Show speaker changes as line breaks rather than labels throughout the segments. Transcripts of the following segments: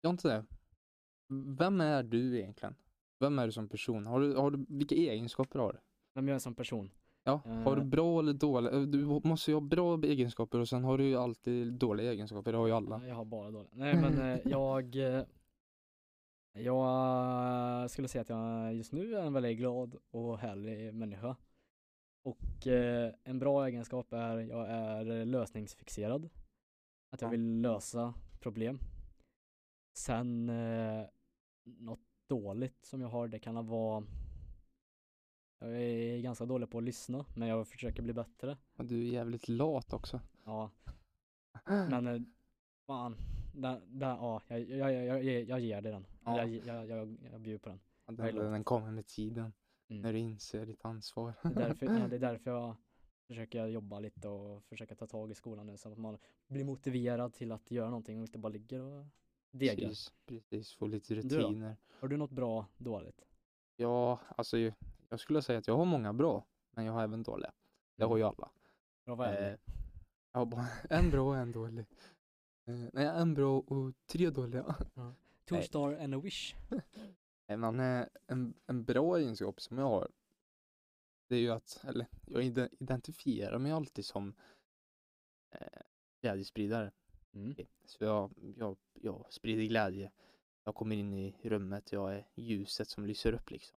Jag har inte det. Vem är du egentligen? Vem är du som person? Har du, har du, vilka egenskaper har du?
Vem jag är som person?
Ja, har du
Eh.
bra eller dåliga? Du måste ju ha bra egenskaper och sen har du ju alltid dåliga egenskaper. Det har ju alla.
Ja, Jag har bara dåliga. Nej men eh, jag eh, Jag skulle säga att jag just nu är en väldigt glad och härlig människa. Och eh, en bra egenskap är jag är lösningsfixerad. Att jag
Ja.
vill lösa problem. Sen eh, något dåligt som jag har det kan vara Jag är ganska dålig på att lyssna men jag försöker bli bättre.
Men du är jävligt lat också.
Ja. Men eh, fan, där, där, ja, jag, jag, jag, jag, jag ger dig den.
Ja.
Jag, jag, jag, jag bjuder på den.
Den,
jag är lat.
den kommer med tiden.
Mm.
När du inser ditt ansvar.
Det, är därför, ja, det är därför jag försöker jobba lite och försöka ta tag i skolan nu så att man blir motiverad till att göra någonting och inte bara ligger och degar.
Precis, precis. Få lite
då?
rutiner.
Har du något bra dåligt?
Ja, alltså ju- jag skulle säga att jag har många bra. Men jag har även dåliga. Det har ju alla.
Bra Mm. vad är det?
Eh, jag har bara en bra och en dålig. Eh, nej, en bra och tre dåliga.
Two
nej.
star and a wish.
Nej, Men eh, en, en bra egenskap som jag har, det är ju att, eller jag ide- identifierar mig alltid som eh, glädjespridare.
Mm.
Så jag, jag, jag sprider glädje. Jag kommer in i rummet, jag är ljuset som lyser upp liksom.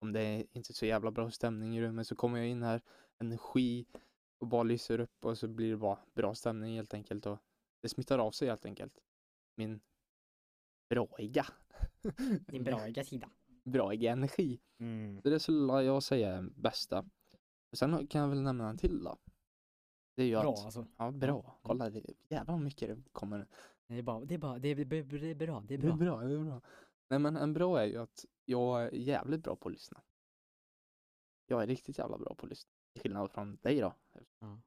Om det är inte så jävla bra stämning i rummet så kommer jag in här, energi och bara lyser upp och så blir det bara bra stämning helt enkelt och det smittar av sig helt enkelt. Min braiga.
Din braiga sida.
braiga energi.
Mm.
Så det skulle jag säga är den bästa. Och sen kan jag väl nämna en till då. Det är ju
Bra
att,
alltså.
ja bra, kolla det, jävlar vad mycket det kommer nu.
Det är bara, det är bara, det är, det är, det är bra, det är
Det är
bra.
bra, det är bra. Nej men en bra är ju att jag är jävligt bra på att lyssna. Jag är riktigt jävla bra på att lyssna. Till skillnad från dig då.
Ja.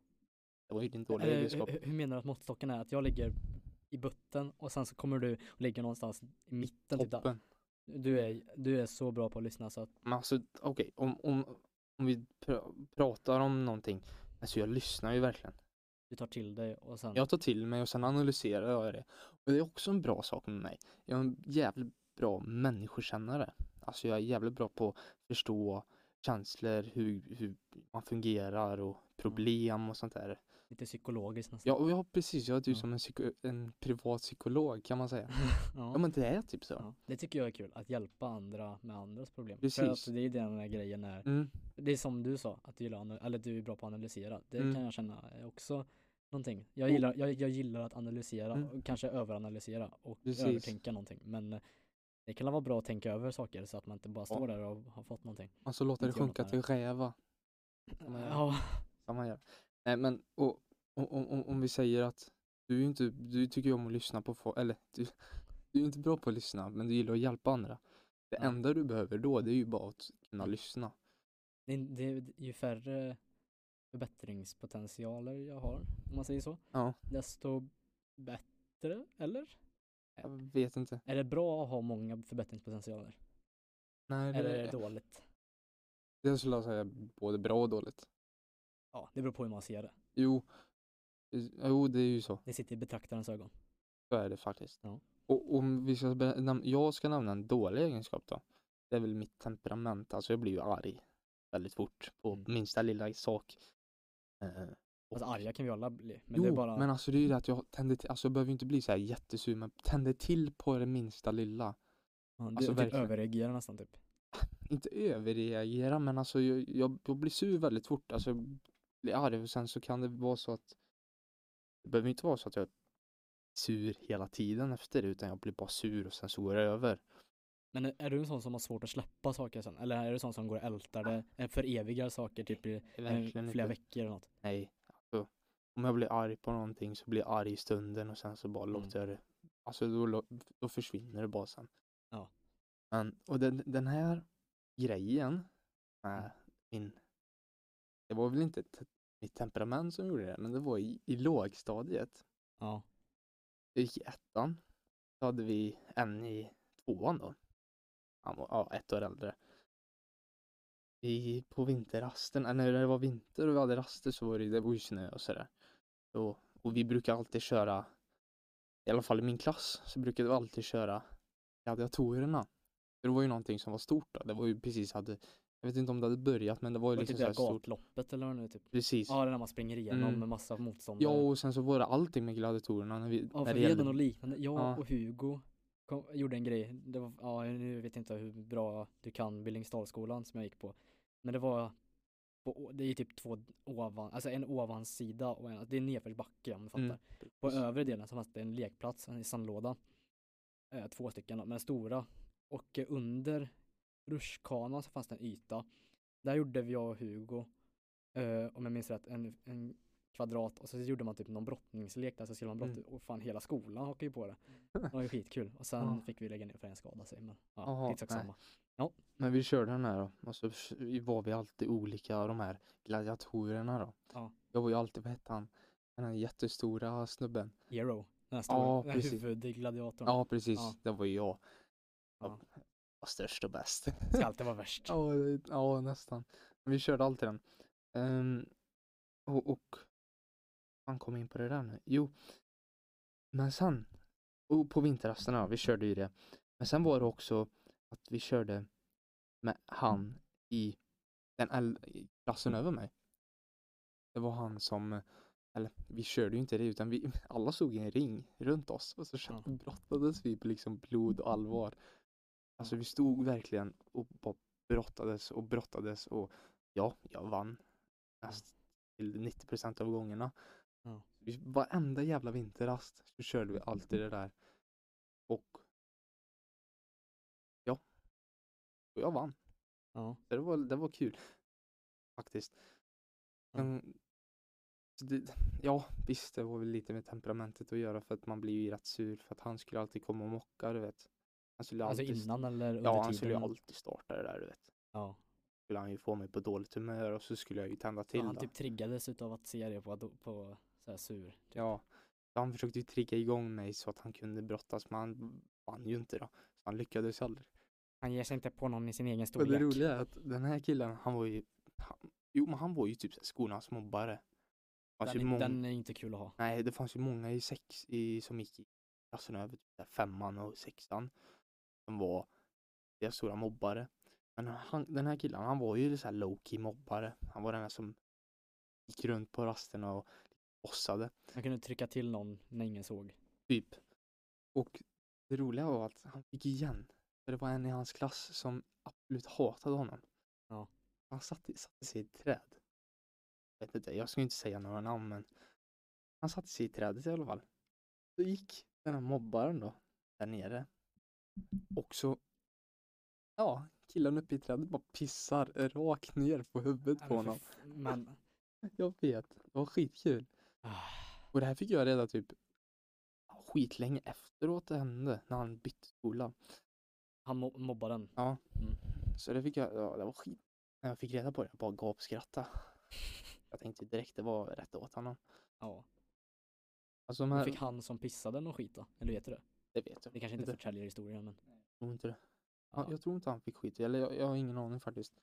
Det var ju din dåliga
Eh,
egenskap.
hur, hur menar du att måttstocken är? Att jag ligger i botten och sen så kommer du och ligger någonstans i mitten? Typ där.
Toppen.
Du, är, du är så bra på att lyssna så att
Men alltså okej, om, om, om vi pr- pratar om någonting. Alltså jag lyssnar ju verkligen.
du tar till dig och sen
Jag tar till mig och sen analyserar jag det. Och det är också en bra sak med mig. Jag är en jävligt bra människokännare. Alltså jag är jävligt bra på att förstå känslor, hur, hur man fungerar och
Mm.
problem och sånt där.
lite psykologiskt nästan.
Ja, och ja precis, jag är typ
Ja.
som en, psyko- en privat psykolog kan man säga. Ja
Mm. ja.
men det är typ så.
Ja. Det tycker jag är kul, att hjälpa andra med andras problem.
Precis.
För att det är den här grejen är,
Mm.
det är som du sa, att du, gillar, ana- eller du är bra på att analysera. Det
Mm.
kan jag känna är också någonting. Jag
Och-
gillar, jag, jag gillar att analysera,
Mm.
och kanske överanalysera och
Precis.
övertänka någonting. Men eh, det kan vara bra att tänka över saker så att man inte bara står där och har fått någonting.
Och så Alltså, låter det
Inte jag
sjunka
något
till räva. Som man gör.
Ja,
Som man gör. Nej men, och, och, om- om- om vi säger att du är ju inte, du tycker ju om att lyssna på folk, eller du, du är ju inte bra på att lyssna, men du gillar att hjälpa andra. Det
Ja.
enda du behöver då, det är ju bara att kunna lyssna.
det, är- det är ju färre förbättringspotentialer jag har, om man säger så.
Ja.
Desto bättre, eller?
Jag vet inte.
Är det bra att ha många förbättringspotentialer?
Nej, det,
Eller är
det,
det dåligt?
det skulle jag säga både bra och dåligt.
Ja, det beror på hur man ser det.
Jo, jo det är ju så.
Det sitter i betraktarens ögon.
Så är det faktiskt.
Ja.
Och om vi ska be- nam- jag ska nämna en dålig egenskap då. Det är väl mitt temperament. Alltså jag blir ju arg väldigt fort på
Mm.
minsta lilla sak. Eh, och-
Alltså arga kan vi alla bli. Men
jo,
det är bara... Mm.
men alltså det är ju det att jag tänder till, alltså jag behöver ju inte bli så här jättesur men tänder till på det minsta lilla.
ja, du
alltså,
typ
verkligen.
överreagerar nästan typ.
Inte överreagera men alltså jag, jag, jag blir sur väldigt fort. Alltså jag blir arg och sen så kan det vara så att det behöver inte vara så att jag är sur hela tiden efter det utan jag blir bara sur och sen så går det över.
Men är- är du en sån som har svårt att släppa saker sen? Eller är du sån som går och ältar det? eh, Förevigar saker typ i eh,
Verkligen
flera
inte.
veckor eller något?
Nej, alltså, om jag blir arg på någonting så blir jag arg i stunden och sen så bara
Mm.
låter jag det. Alltså då, lå- då försvinner det bara sen.
Ja.
Men, och den, den här grejen
Mm.
med min, det var väl inte te- mitt temperament som gjorde det, men det var i, i lågstadiet.
Ja.
Jag gick i ettan, då hade vi en i tvåan då. Han var ja, ett år äldre. Vi på vinterrasten, eller när det var vinter och vi hade raster så var det, det var ju snö och sådär. Och, och vi brukar alltid köra i alla fall i min klass så brukade vi alltid köra gladiatorerna. För det var ju någonting som var stort då. Det var ju precis hade, jag vet inte om det hade börjat men det var ju
Var det
liksom
typ
så här
det här
stort.
gatloppet eller vad det nu är, typ?
Precis.
Ja, det är när man springer igenom
Mm.
med massa motståndare.
Ja och sen så var det allting med gladiatorerna när vi,
Ja,
när det
för vi hade
gällde
något liknande. Jag
Ja.
och Hugo kom, gjorde en grej. Det var, ja, nu vet jag inte hur bra du kan Billingsdalsskolan som jag gick på. Men det var, på, å- det är typ två ovan, alltså en ovansida och en, det är nedförsbacke om du fattar.
Mm.
På övre delen så fanns det en lekplats, en sandlåda. Eh, två stycken då, men stora. Och eh, under rutschkanan så fanns det en yta. Där gjorde vi jag och Hugo, eh, om jag minns rätt, en, en kvadrat och så gjorde man typ någon brottningslek där så skulle man brotta
Mm.
och fan hela skolan hakade ju på det. Det var ju skitkul och sen
Ja.
fick vi lägga ner för en skada sig men ja,
Jaha,
skitsak
nej.
samma.
Men vi körde den här då. Och så förs- var vi alltid olika de här gladiatorerna då.
Ja.
Jag var ju alltid, vad hette han? Den här jättestora snubben.
Hero, den här stora,
Ja,
den här
precis.
huvudgladiatorn.
Ja precis,
Ja.
det var ju jag.
Ja.
Jag var störst och bäst.
Ska alltid vara värst.
Ja, det- ja nästan. Men vi körde alltid den. Ehm, och, och han kom in på det där nu. Jo, men sen och på vinterrasterna, vi körde ju det. Men sen var det också att vi körde med han
Mm.
i den äl- i klassen över mig. Det var han som, eller vi körde ju inte det utan vi, alla stod i en ring runt oss och så
Ja. Mm.
brottades vi på liksom blod och allvar. Alltså vi stod verkligen och bara brottades och brottades och ja, jag vann näst till 90 procent av gångerna.
Ja.
Vi- Varenda jävla vinterrast så körde vi alltid
Mm.
det där. Och ja, och jag vann.
Ja.
Så Det var, det var kul faktiskt.
Ja.
Men, så det, ja, visst det var väl lite med temperamentet att göra för att man blir ju rätt sur för att han skulle alltid komma och mocka, du vet. Han skulle
Alltså
alltid,
innan eller under
Ja, han
tiden?
skulle ju alltid starta det där, du vet.
ja.
Skulle han ju få mig på dåligt humör och så skulle jag ju tända till.
Ja, han
då.
typ triggades utav att se det på, på så här sur.
Ja, så han försökte ju trigga igång mig så att han kunde brottas men han vann ju inte då. Så han lyckades aldrig.
Han ger sig inte på någon i sin egen
Men
storlek.
det roliga är att den här killen, han var ju, han, jo men han var ju typ så här skolans mobbare. Det fanns ju Alltså,
den, är-
många-
den är inte kul att ha.
Nej, det fanns ju många i sex i, som gick i klassen över typ där femman och sexan. Som var deras stora mobbare. Men han, den här killen, han var ju så här low-key mobbare. Han var den här som gick runt på rasterna och bossade.
Han kunde trycka till någon när ingen såg.
Typ. Och det roliga var att han fick igen. För det var en i hans klass som absolut hatade honom.
Ja.
Han satte, satte sig i ett träd. Jag vet inte, jag ska ju inte säga några namn men. Han satte sig i trädet i alla fall. Så gick den här mobbaren då, där nere. Och så, ja, killen uppe i trädet bara pissar rakt ner på huvudet
Nej,
på
men för
honom.
f- Men,
Jag vet, det var skitkul.
ah,
Och det här fick jag reda typ skitlänge efteråt det hände, när han bytte skola.
han mo- mobbar den.
Ja.
Mm.
Så det fick jag, ja, det var skit. När jag fick reda på det, jag bara gapskratta. Jag tänkte direkt det var rätt åt honom.
Ja.
Alltså de
Men
här,
fick han som pissade någon skit då? Eller vet du det?
det vet jag
Det kanske inte förtäljer historien men.
jag tror inte det.
Ja.
Ja. Jag tror inte han fick skit, eller jag, jag har ingen aning faktiskt.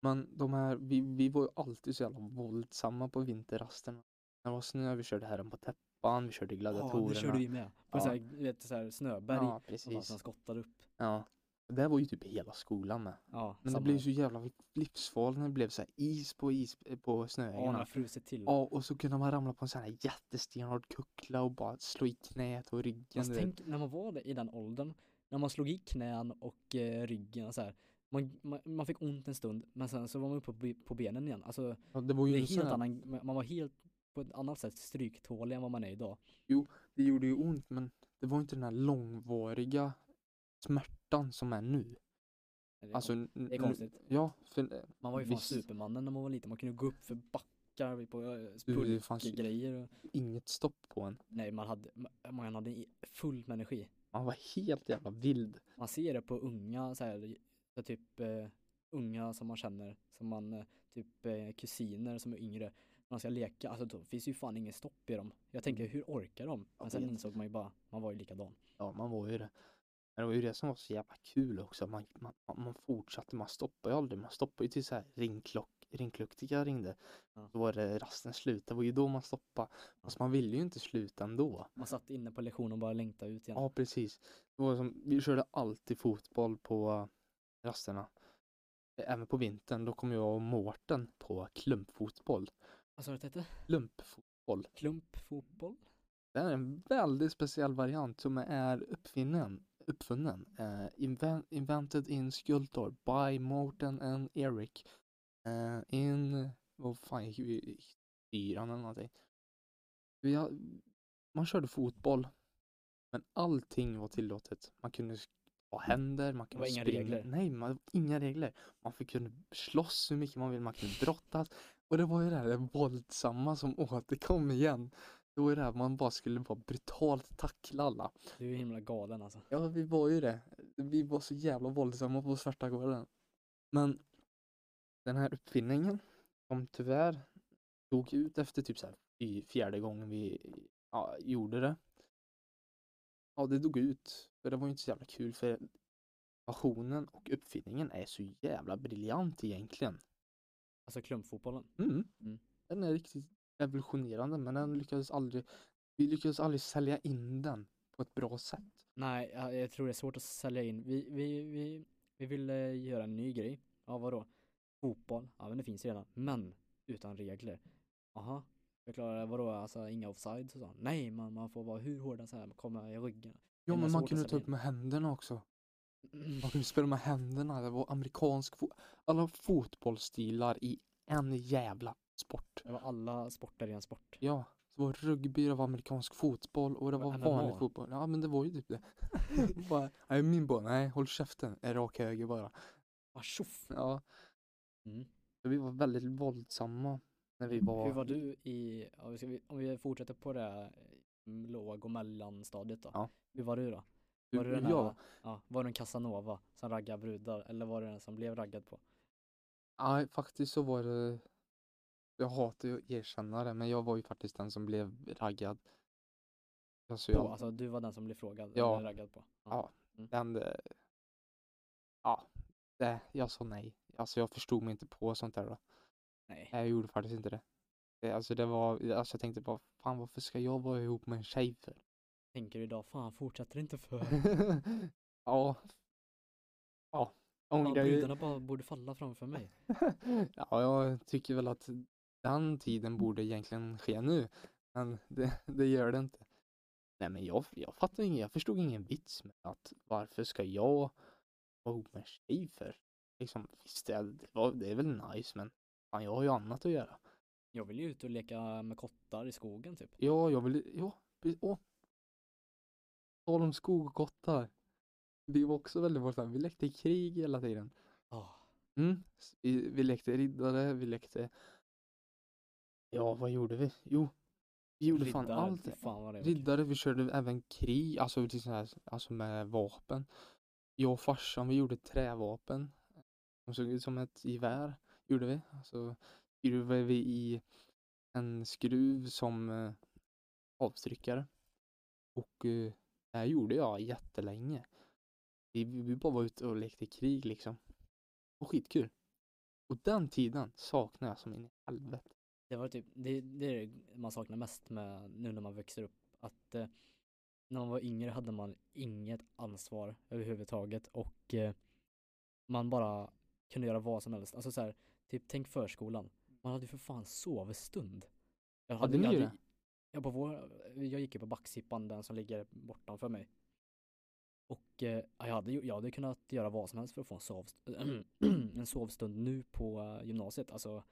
Men de här, vi, vi var ju alltid så jävla våldsamma på vinterrasterna. När det var snö, vi körde herren på täppan, vi körde gladiatorerna.
det körde vi med. På
Ja.
så här, du vet, så här snöberg.
Ja,
som bara- som
precis.
skottar upp.
Ja. Det här var ju typ hela skolan med.
Ja,
Men
samma
det blev
här.
så jävla livsfarligt när det blev så här is på is eh, på
Ja, han har
snöängarna.
frusit till.
Ja, och så kunde man ramla på en sån här jättestenhård kuckla och bara slå i knät och ryggen.
Fast
du vet.
tänk när man var där i den åldern, när man slog i knän och eh, ryggen och så här. Man, man, man fick ont en stund, men sen så var man uppe på, be- på benen igen. Alltså,
Ja, det var
det
ju
är
en sån
helt
här,
annan, man man var helt på ett annat sätt stryktålig än vad man är idag.
det gjorde ju ont men det var inte den här långvariga smärtan som är nu.
Det är
Alltså,
kon-
n-
det är
nu-
konstigt.
Ja, för eh,
Man var ju fan
visst.
supermannen när man var liten, man kunde gå upp för backar på eh,
Du, det fanns ju-
pulkgrejer. och-
inget stopp på en.
Nej, man hade, ma- man hade i- fullt med energi.
Man var helt jävla vild.
Man ser det på unga så här, så typ eh, unga som man känner, som man eh, typ eh, kusiner som är yngre. Man ska leka, alltså då finns ju fan ingen stopp i dem. Jag tänker hur orkar de? Men
Mm. Jag
sen
vet.
insåg man ju bara, man var ju likadan.
Ja, man var ju det. Men det var ju det som var så jävla kul också. Man, man, man fortsatte, man stoppade ju aldrig. Man stoppade ju till så här ringklock, rinkluktiga ringde,
Ja.
då var det rasten slut. Det var ju då man stoppade. Fast man ville ju inte sluta ändå.
Man satt inne på lektionen och bara längtade ut igen.
Ja, precis. Det var som, vi körde alltid fotboll på rasterna. Även på vintern, då kom jag och Mårten på klumpfotboll.
Vad sa du att det hette?
Klumpfotboll.
Klumpfotboll?
Det är en väldigt speciell variant som är uppfinnen, uppfunnen. eh, inven- invented in Skultorp by Morten and Eric. eh, in, vad fan gick vi i? Fyran eller någonting. Vi, ha- man körde fotboll. Men allting var tillåtet. Man kunde sk- ha händer, man kunde
Mm. var inga
springa.
regler.
Nej, man, inga regler. Man fick, kunde slåss hur mycket man ville, man kunde brottas. Och det var ju det här det våldsamma som återkom igen. Det var ju det här man bara skulle bara brutalt tackla alla.
Du är ju himla galen alltså.
Ja, vi var ju det. Vi var så jävla våldsamma på svarta gården. Men den här uppfinningen som tyvärr dog ut efter typ så här i fjärde gången vi ja, gjorde det. Ja, det dog ut. För det var ju inte så jävla kul för passionen och uppfinningen är så jävla briljant egentligen.
Alltså klumpfotbollen.
Mm.
Mm.
Den är riktigt revolutionerande men den lyckades aldrig, vi lyckades aldrig sälja in den på ett bra sätt.
Nej, jag, jag tror det är svårt att sälja in. Vi, vi, vi, vi ville göra en ny grej. Ja, vadå? Fotboll? Ja, men det finns redan. Men utan regler. Aha. Förklara, vadå? Alltså inga offsides och sånt? Nej, man, man får vara hur hårda så här, man kommer i ryggen.
Ja
Den är
men
svår
man
att
kunde ta
sälja
upp med händerna också.
Mm.
Man kunde spela med händerna. Det var amerikansk fo- alla fotbollsstilar i en jävla sport.
Det var alla sporter i en sport.
Ja, det var rugby, det var amerikansk fotboll och det
Det
var
var
vanlig
MMA.
fotboll. Ja men det var ju typ det. bara, nej min boll, nej håll käften. En Rak höger bara.
Ah, tjoff!
Ja,
Mm.
vi var väldigt våldsamma när vi var...
Hur var du i, ja, vi ska, vi- om vi fortsätter på det här, mm, låg och mellanstadiet då.
Ja.
Hur var du då?
hur-
Var du den
hur jag
här,
var?
ja, var du en casanova som raggade brudar eller var du den som blev raggad på?
Nej, faktiskt så var det... Jag hatar ju att erkänna det, men jag var ju faktiskt den som blev raggad. Alltså
På,
jag...
alltså du var den som blev frågad
Ja.
eller raggad på?
Ja. Den... eh, Ja, det, jag sa nej. Alltså jag förstod mig inte på sånt där då.
Nej.
Nej, Jag gjorde faktiskt inte det. det alltså det var... Alltså jag tänkte bara, fan varför ska jag vara ihop med en tjej för?
Tänker du idag, fan fortsätter inte för?
ja. Ja.
Fan,
Ångrar ju...
brudarna bara borde falla framför mig.
ja, jag tycker väl att den tiden borde egentligen ske nu. Men det, det gör det inte. Nej men jag, jag fattar ingen, jag förstod ingen vits med att varför ska jag vara ihop med en tjej för? Liksom visst, det, det, var, det är väl nice men fan, jag har ju annat att göra.
Jag vill ju ut och leka med kottar i skogen typ.
Ja, jag vill, ja, precis, åh. Tal om skog och kottar. Vi var också väldigt våldsamma, vi lekte krig hela tiden.
Ah,
Mm. s- Vi, vi lekte riddare, vi lekte... Ja, vad gjorde vi? Jo, vi gjorde fan
riddare,
allt.
fy Fan vad det var.
Riddare, vi körde även krig, alltså, till sån här, alltså med vapen. Jag och farsan, vi gjorde trävapen. De såg ut som ett gevär, gjorde vi. Så skruvade vi i en skruv som eh, avtryckare. Och eh, det här gjorde jag jättelänge. Vi, vi bara var ute och lekte krig liksom. Och skitkul. Och den tiden saknar jag som in i helvete.
Det var typ, det, det är det man saknar mest med nu när man växer upp. Att eh, när man var yngre hade man inget ansvar överhuvudtaget och eh, man bara kunde göra vad som helst. Alltså så här, typ tänk förskolan. Man hade ju för fan sovstund. Jag
Hade ni
jag
det?
jag, på vår, jag gick ju på Backsippan, den som ligger bortanför mig. Och eh, ja, jag, hade, ju- jag hade kunnat göra vad som helst för att få en, sovst- en sovstund nu på eh, gymnasiet. Alltså,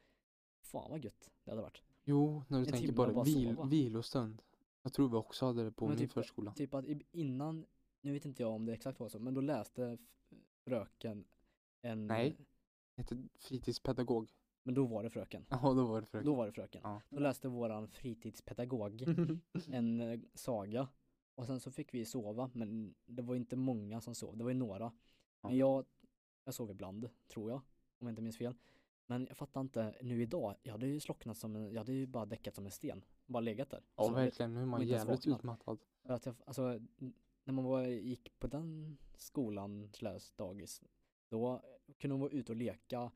fan vad gött det hade varit.
Jo, när du
En
tänker
timme
på
och
det.
typ bara
Vil,
sova.
vilostund. Jag tror vi också hade det på
Men
min
typ-
förskola.
Typ att i- innan, nu vet inte jag om det exakt var så, men då läste f- fröken en...
Nej. Hette fritidspedagog.
Men då var det fröken.
Ja, då var det fröken.
Då var det fröken.
Ja. Mm.
Då läste våran fritidspedagog en eh, saga. Och sen så fick vi sova, men det var inte många som sov, det var ju några. Men jag, jag sov ibland, tror jag, om jag inte minns fel. Men jag fattar inte, nu idag, jag hade ju slocknat som en, jag hade ju bara däckat som en sten. Bara legat där. Alltså,
ja,
Så-
verkligen. Nu är man
inte ens
jävligt
vaknat.
utmattad.
För att jag, alltså, n- när man var, gick på den skolan slash dagis, då kunde man vara ute och leka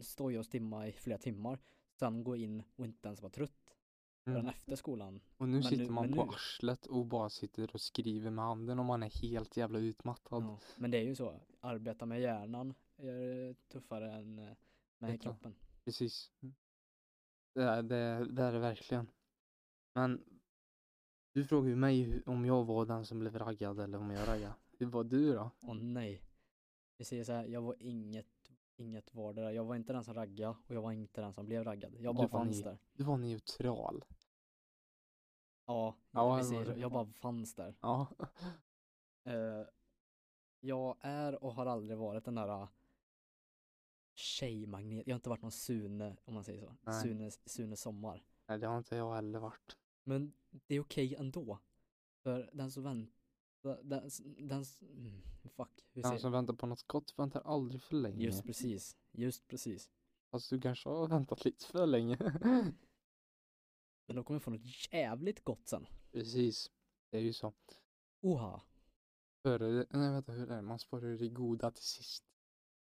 stoja och stimma i flera timmar, sen gå in och inte ens vara trött förrän
Mm.
efter skolan.
Och nu
nu-
sitter man
men
på
nu-
arslet och bara sitter och skriver med handen och man är helt jävla utmattad.
Ja. Men det är ju så, arbeta med hjärnan är tuffare än eh, med
Vet du.
kroppen.
Precis. Mm. Det är det, är- det är det verkligen. Men du frågar ju mig hu- om jag var den som blev raggad eller om jag raggade. Hur var du då?
Åh nej. Vi säger så här, jag var inget, inget var det där. Jag var inte den som raggade och jag var inte den som blev raggad. Jag
Du
bara
var
fanns
ni-
där.
Du var neutral.
Ja,
Ja,
vi
det
säger
var
så.
det.
Jag bara fanns där.
Ja.
Eh, jag är och har aldrig varit den där ah, tjejmagnet. Jag har inte varit någon Sune, om man säger så.
Nej.
Sune, Sune Sommar.
Nej, det har inte jag heller varit.
Men det är okej ändå. För den som väntar, den, s- den, s- mm, fuck, hur säger
Den
jag?
som väntar på något gott väntar aldrig för länge.
Just precis, just precis.
Fast du kanske har väntat lite för länge.
Men då kommer jag få något jävligt gott sen.
Precis. Det är ju så.
Oha.
Före, nej vänta, hur är det? Man sparar ju det goda till sist.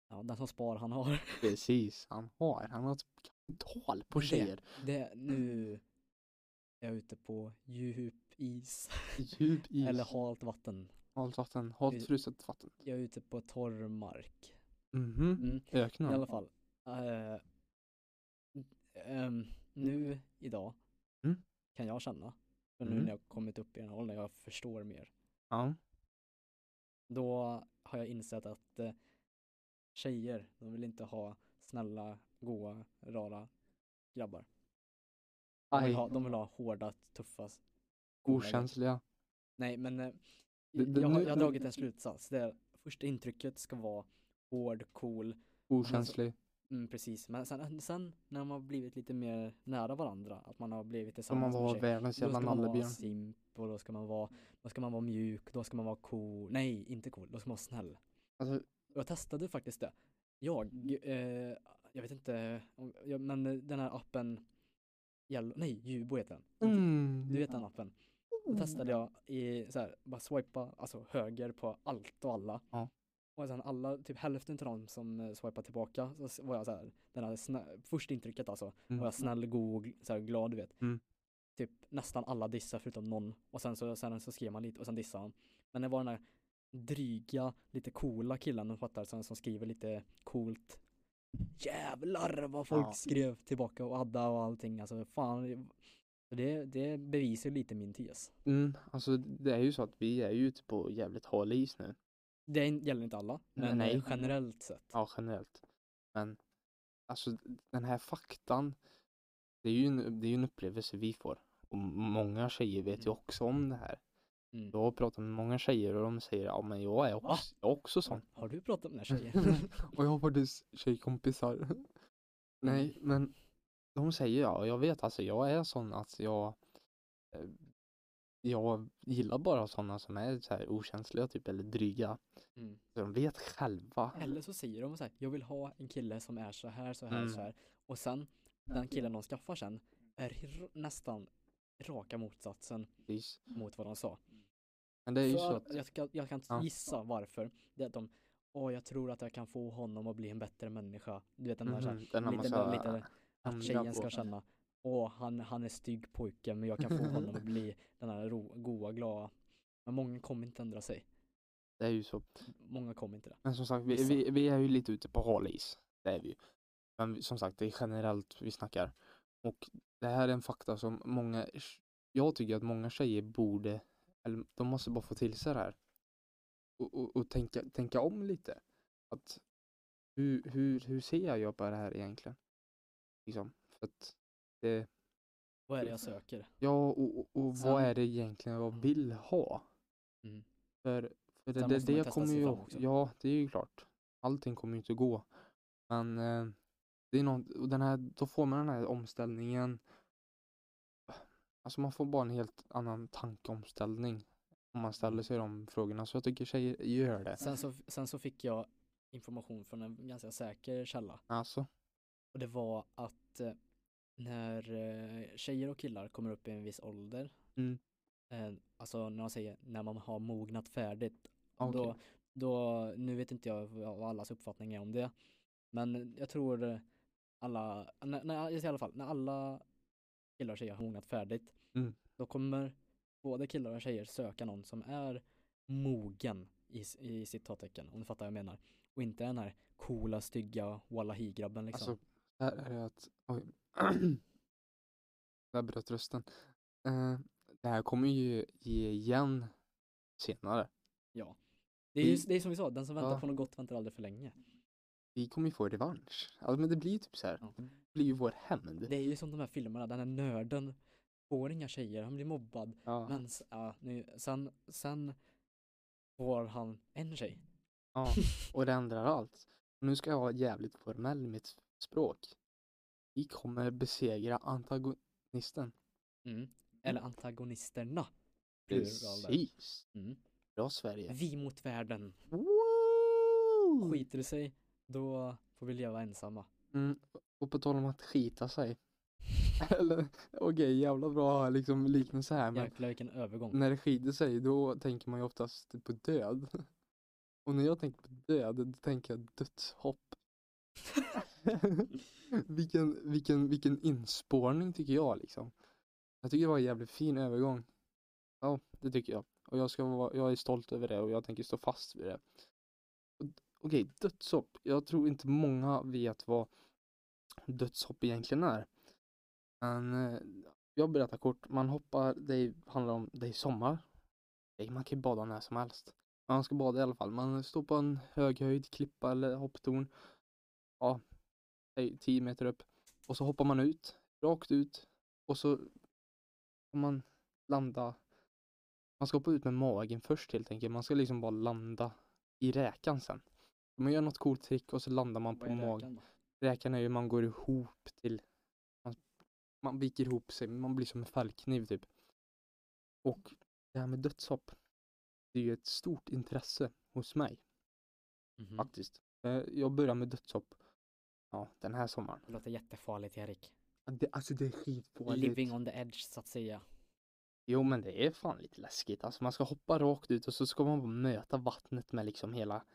Ja, den som spar han har.
Precis, han har. Han har ett kapital på
Det-
tjejer.
Det, nu är jag ute på djup is.
Djup is.
Eller halt vatten.
Halt vatten, halt
I-
fruset vatten.
Jag är ute på torr mark.
Mhm.
Mm.
Öknen.
I alla fall. Eh, ehm, nu idag
Mm.
kan jag känna, för nu
Mm.
när jag kommit upp i den här åldern, jag förstår mer.
Ja.
Då har jag insett att eh, tjejer, de vill inte ha snälla, goa, rara grabbar. De
Aj,
vill, ha, de vill ha hårda, tuffa, s- goa grabbar.
okänsliga.
Nej men eh,
Det- det-
jag, har-
nu-
jag har
nu-
dragit en slutsats. Det är, första intrycket ska vara hård, cool,
Okänslig.
mm, precis. Men sen, sen när man har blivit lite mer nära varandra, att man har blivit
Som man
tillsammans
var
med tjejer,
världens
alltså, då
jävla
ska man vara
nallebjörn.
simp och då ska man vara, då ska man vara mjuk, då ska man vara cool, nej inte cool, då ska man vara snäll.
Alltså,
Och jag testade faktiskt det. Jag, eh, jag vet inte, om, jag, men eh, den här appen, Yellow, nej Jubo heter den.
mm.
Du vet den appen. Då testade jag i så här, bara swipa alltså höger på allt och alla.
Ja.
Och sen alla, typ hälften till de som eh, swipade tillbaka så s- var jag så här, den här snä- första intrycket alltså,
Mm.
var jag snäll, god, och gl- så här, glad du vet.
Mm.
Typ nästan alla dissar förutom någon och sen så, sen så skrev man lite och sen dissade han. Men det var den där dryga, lite coola killen de fattar som, som skriver lite coolt. Jävlar vad folk
Ja.
skrev tillbaka och adda och allting alltså fan. Det, det bevisar ju lite min tes.
Mm, alltså det är ju så att vi är ju ute på jävligt hal is nu.
Det är- gäller inte alla, men
nej.
eh, generellt sett.
Ja, generellt. Men alltså den här faktan. Det är ju en, det är ju en upplevelse vi får. Och många tjejer vet ju
Mm.
också om det här.
Mm.
Jag har pratat med många tjejer och de säger ja men jag är
Va?
också, jag är också sån.
Har, har du pratat om den här tjejen?
och jag har faktiskt tjejkompisar. Mm. Nej, men de säger ja, och jag vet alltså, jag är sån att jag eh, jag gillar bara sådana som är så här okänsliga typ eller dryga.
Mm.
Så de vet själva.
Eller så säger de så här, jag vill ha en kille som är så här, så här,
Mm.
så här. Och sen, den killen de skaffar sen är r- nästan raka motsatsen
Precis.
mot vad de sa.
Men det är ju
För-
så att
jag, ska, jag kan
Ja.
gissa varför. Det är att de, åh jag tror att jag kan få honom att bli en bättre människa. Du vet den där så här,
Mhm, den har man så
lite,
här
lite att
ändra
tjejen
på.
ska känna Åh, han, han är stygg pojke men jag kan få honom att bli den här ro, goa, glada. Men många kommer inte ändra sig.
Det är ju så.
Många kommer inte det.
Men som sagt, vi,
Vissa.
vi, vi är ju lite ute på hal is. Det är vi ju. Men vi- som sagt, det är generellt vi snackar. Och det här är en fakta som många, jag tycker att många tjejer borde, eller de måste bara få till sig det här. Och, och, och tänka, tänka om lite. Att hur, hur, hur ser jag på det här egentligen? Liksom, för att det,
Vad är det jag söker?
ja och, och, och
Sen-
vad är det egentligen jag vill ha?
Mm.
För, för det,
Sen
det,
måste man
det
testa
kommer
sig
ju,
fram också.
ja det är ju klart. Allting kommer ju inte gå. Men eh, det är något, och den här, då får man den här omställningen. Alltså man får bara en helt annan tankeomställning. Om man
Mm.
ställer sig de frågorna. Så jag tycker tjejer gör det.
Sen så, sen så fick jag information från en ganska säker källa.
Alltså,
Och det var att eh, när eh, tjejer och killar kommer upp i en viss ålder.
Mm.
Eh, alltså när de säger när man har mognat färdigt.
okej.
Då, då, nu vet inte jag vad vad allas uppfattning är om det. Men jag tror eh, alla, när, när, i alla fall, när alla killar och tjejer har mognat färdigt,
Mm.
då kommer både killar och tjejer söka någon som är mogen i, s- i citattecken, om du fattar vad jag menar. Och inte den här coola, stygga wallahi-grabben liksom.
Alltså, här är det att... Oj. Där bröt rösten. Eh, det här kommer ju ge igen senare.
det, är ju,
vi-
det är som vi sa, den som väntar
ja.
på något gott väntar aldrig för länge.
Vi kommer ju få revansch. Alltså, men det blir ju typ så här.
Ja.
Det blir ju vår hämnd.
Det är ju som de här filmerna, den här nörden får inga tjejer, han blir mobbad.
Ja.
Men s- ja, nu, sen, sen får han en tjej.
Mm. ja. Och det ändrar allt. Nu ska jag vara jävligt formell i mitt språk. Vi kommer besegra antagonisten.
Mm. Eller antagonisterna. Plural där.
Precis.
Mm.
Bra Sverige.
Vi mot världen.
Woo!
Skiter det sig, då får vi leva ensamma.
Mm, och på tal om att skita sig. Eller okej, jävla bra liksom liknelse här men Mm.
Jäklar vilken övergång.
när det skiter sig då tänker man ju oftast på död. Och när jag tänker på död då tänker jag dödshopp. vilken, vilken, vilken inspårning tycker jag liksom. Jag tycker det var en jävligt fin övergång. Ja, det tycker jag. Och jag, ska vara, jag är stolt över det och jag tänker stå fast vid det. Och d- Okej, dödshopp. Jag tror inte många vet vad dödshopp egentligen är. Men eh, jag berättar kort. Man hoppar, det är- handlar om, det är sommar. Det är- Man kan ju bada när som helst. Men man ska bada i alla fall. Man står på en hög höjd, klippa eller hopptorn. Ja, det är 10 meter upp. Och så hoppar man ut, rakt ut. Och så kan man landa. Man ska hoppa ut med magen först helt enkelt. Man ska liksom bara landa i räkan sen. Man gör något coolt trick och så landar man
Vad
på
är
magen.
rökan då?
Räkan är ju man går ihop till, man, man viker ihop sig, man blir som en fallkniv typ. Och det här med dödshopp, det är ju ett stort intresse hos mig
Mhm.
faktiskt. Eh, Jag börjar med dödshopp, ja den här sommaren.
Det låter jättefarligt Erik.
Det, alltså det är skitfarligt.
Living on the edge så att säga.
Jo men det är fan lite läskigt, alltså man ska hoppa rakt ut och så ska man bara möta vattnet med liksom hela,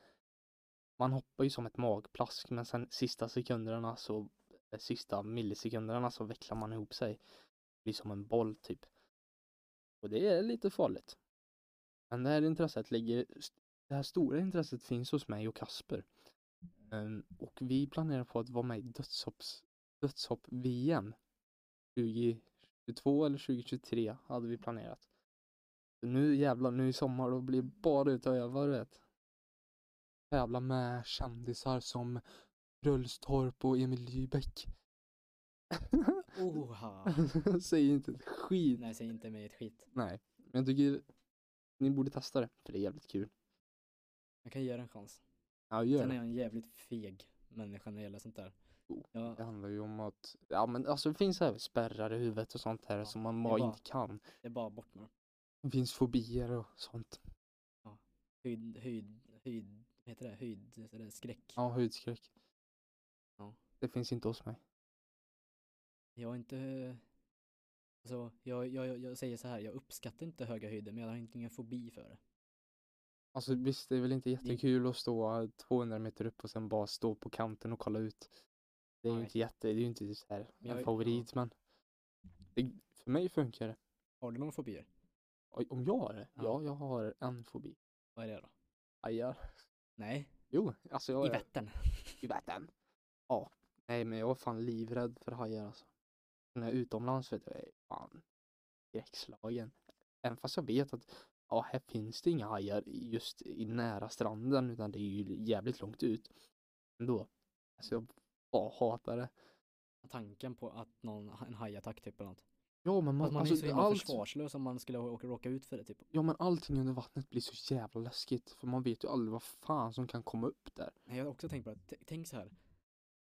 man hoppar ju som ett magplask men sen sista sekunderna så, eh, sista millisekunderna så vecklar man ihop sig. Blir som en boll typ. Och det är lite farligt. Men det här intresset ligger, det här stora intresset finns hos mig och Kasper. Ehm, och vi planerar på att vara med i dödshopps, dödshopp-VM 2022 eller 2023 hade vi planerat. Så nu jävlar, nu i sommar då blir det bara ut och öva du vet. Tävla med kändisar som Bröllstorp och Emil Lybeck.
Oha.
Säger inte ett skit.
Nej, säg inte mig ett skit.
Nej, men jag tycker ni borde testa det, för det är jävligt kul.
Jag kan ge er en chans.
Ja, gör
Sen
det.
är
Oh,
jag en jävligt feg människa när det gäller sånt där.
Jo,
Jag,
Det handlar ju om att, ja men alltså det finns även spärrar i huvudet och sånt här
Ja,
som man
det är
bara
bara-
inte kan.
det är bara bort med dem.
Det finns fobier och sånt.
Höjd, höjd, höjd, vad heter det? Höjd, eller skräck.
Ja, höjdskräck.
Ja.
Det finns inte hos mig.
Jag är inte, alltså jag, jag, jag, jag säger så här, jag uppskattar inte höga höjder men jag har inte ingen fobi för det.
Alltså visst, det är väl inte jättekul att stå 200 meter upp och sen bara stå på kanten och kolla ut. Det är ju
Nej.
inte jätte, det är ju inte så här
Men jag-
en
ja.
favorit men. Det, för mig funkar det.
Har du några fobier?
Oj, Om jag har det?
Ja.
Ja, jag har en fobi.
Vad är det då?
Ajar.
Nej,
Jo, alltså jag
i
är
Vättern.
i vatten. Ja. Nej men jag var fan livrädd för hajar alltså. När jag är utomlands vet jag, jag är fan skräckslagen. Även fast jag vet att ja, här finns det inga hajar just i nära stranden utan det är ju jävligt långt ut. Ändå. Alltså jag bara hatar det.
Tanken på att någon, en hajattack typ eller något.
Ja men man,
Att man är så
alltså,
himla
allt,
försvarslös om man skulle åka, råka ut för det typ.
ja, men allting under vattnet blir så jävla läskigt för man vet ju aldrig vad fan som kan komma upp där.
Nej, jag har också tänkt på det, T- tänk så här.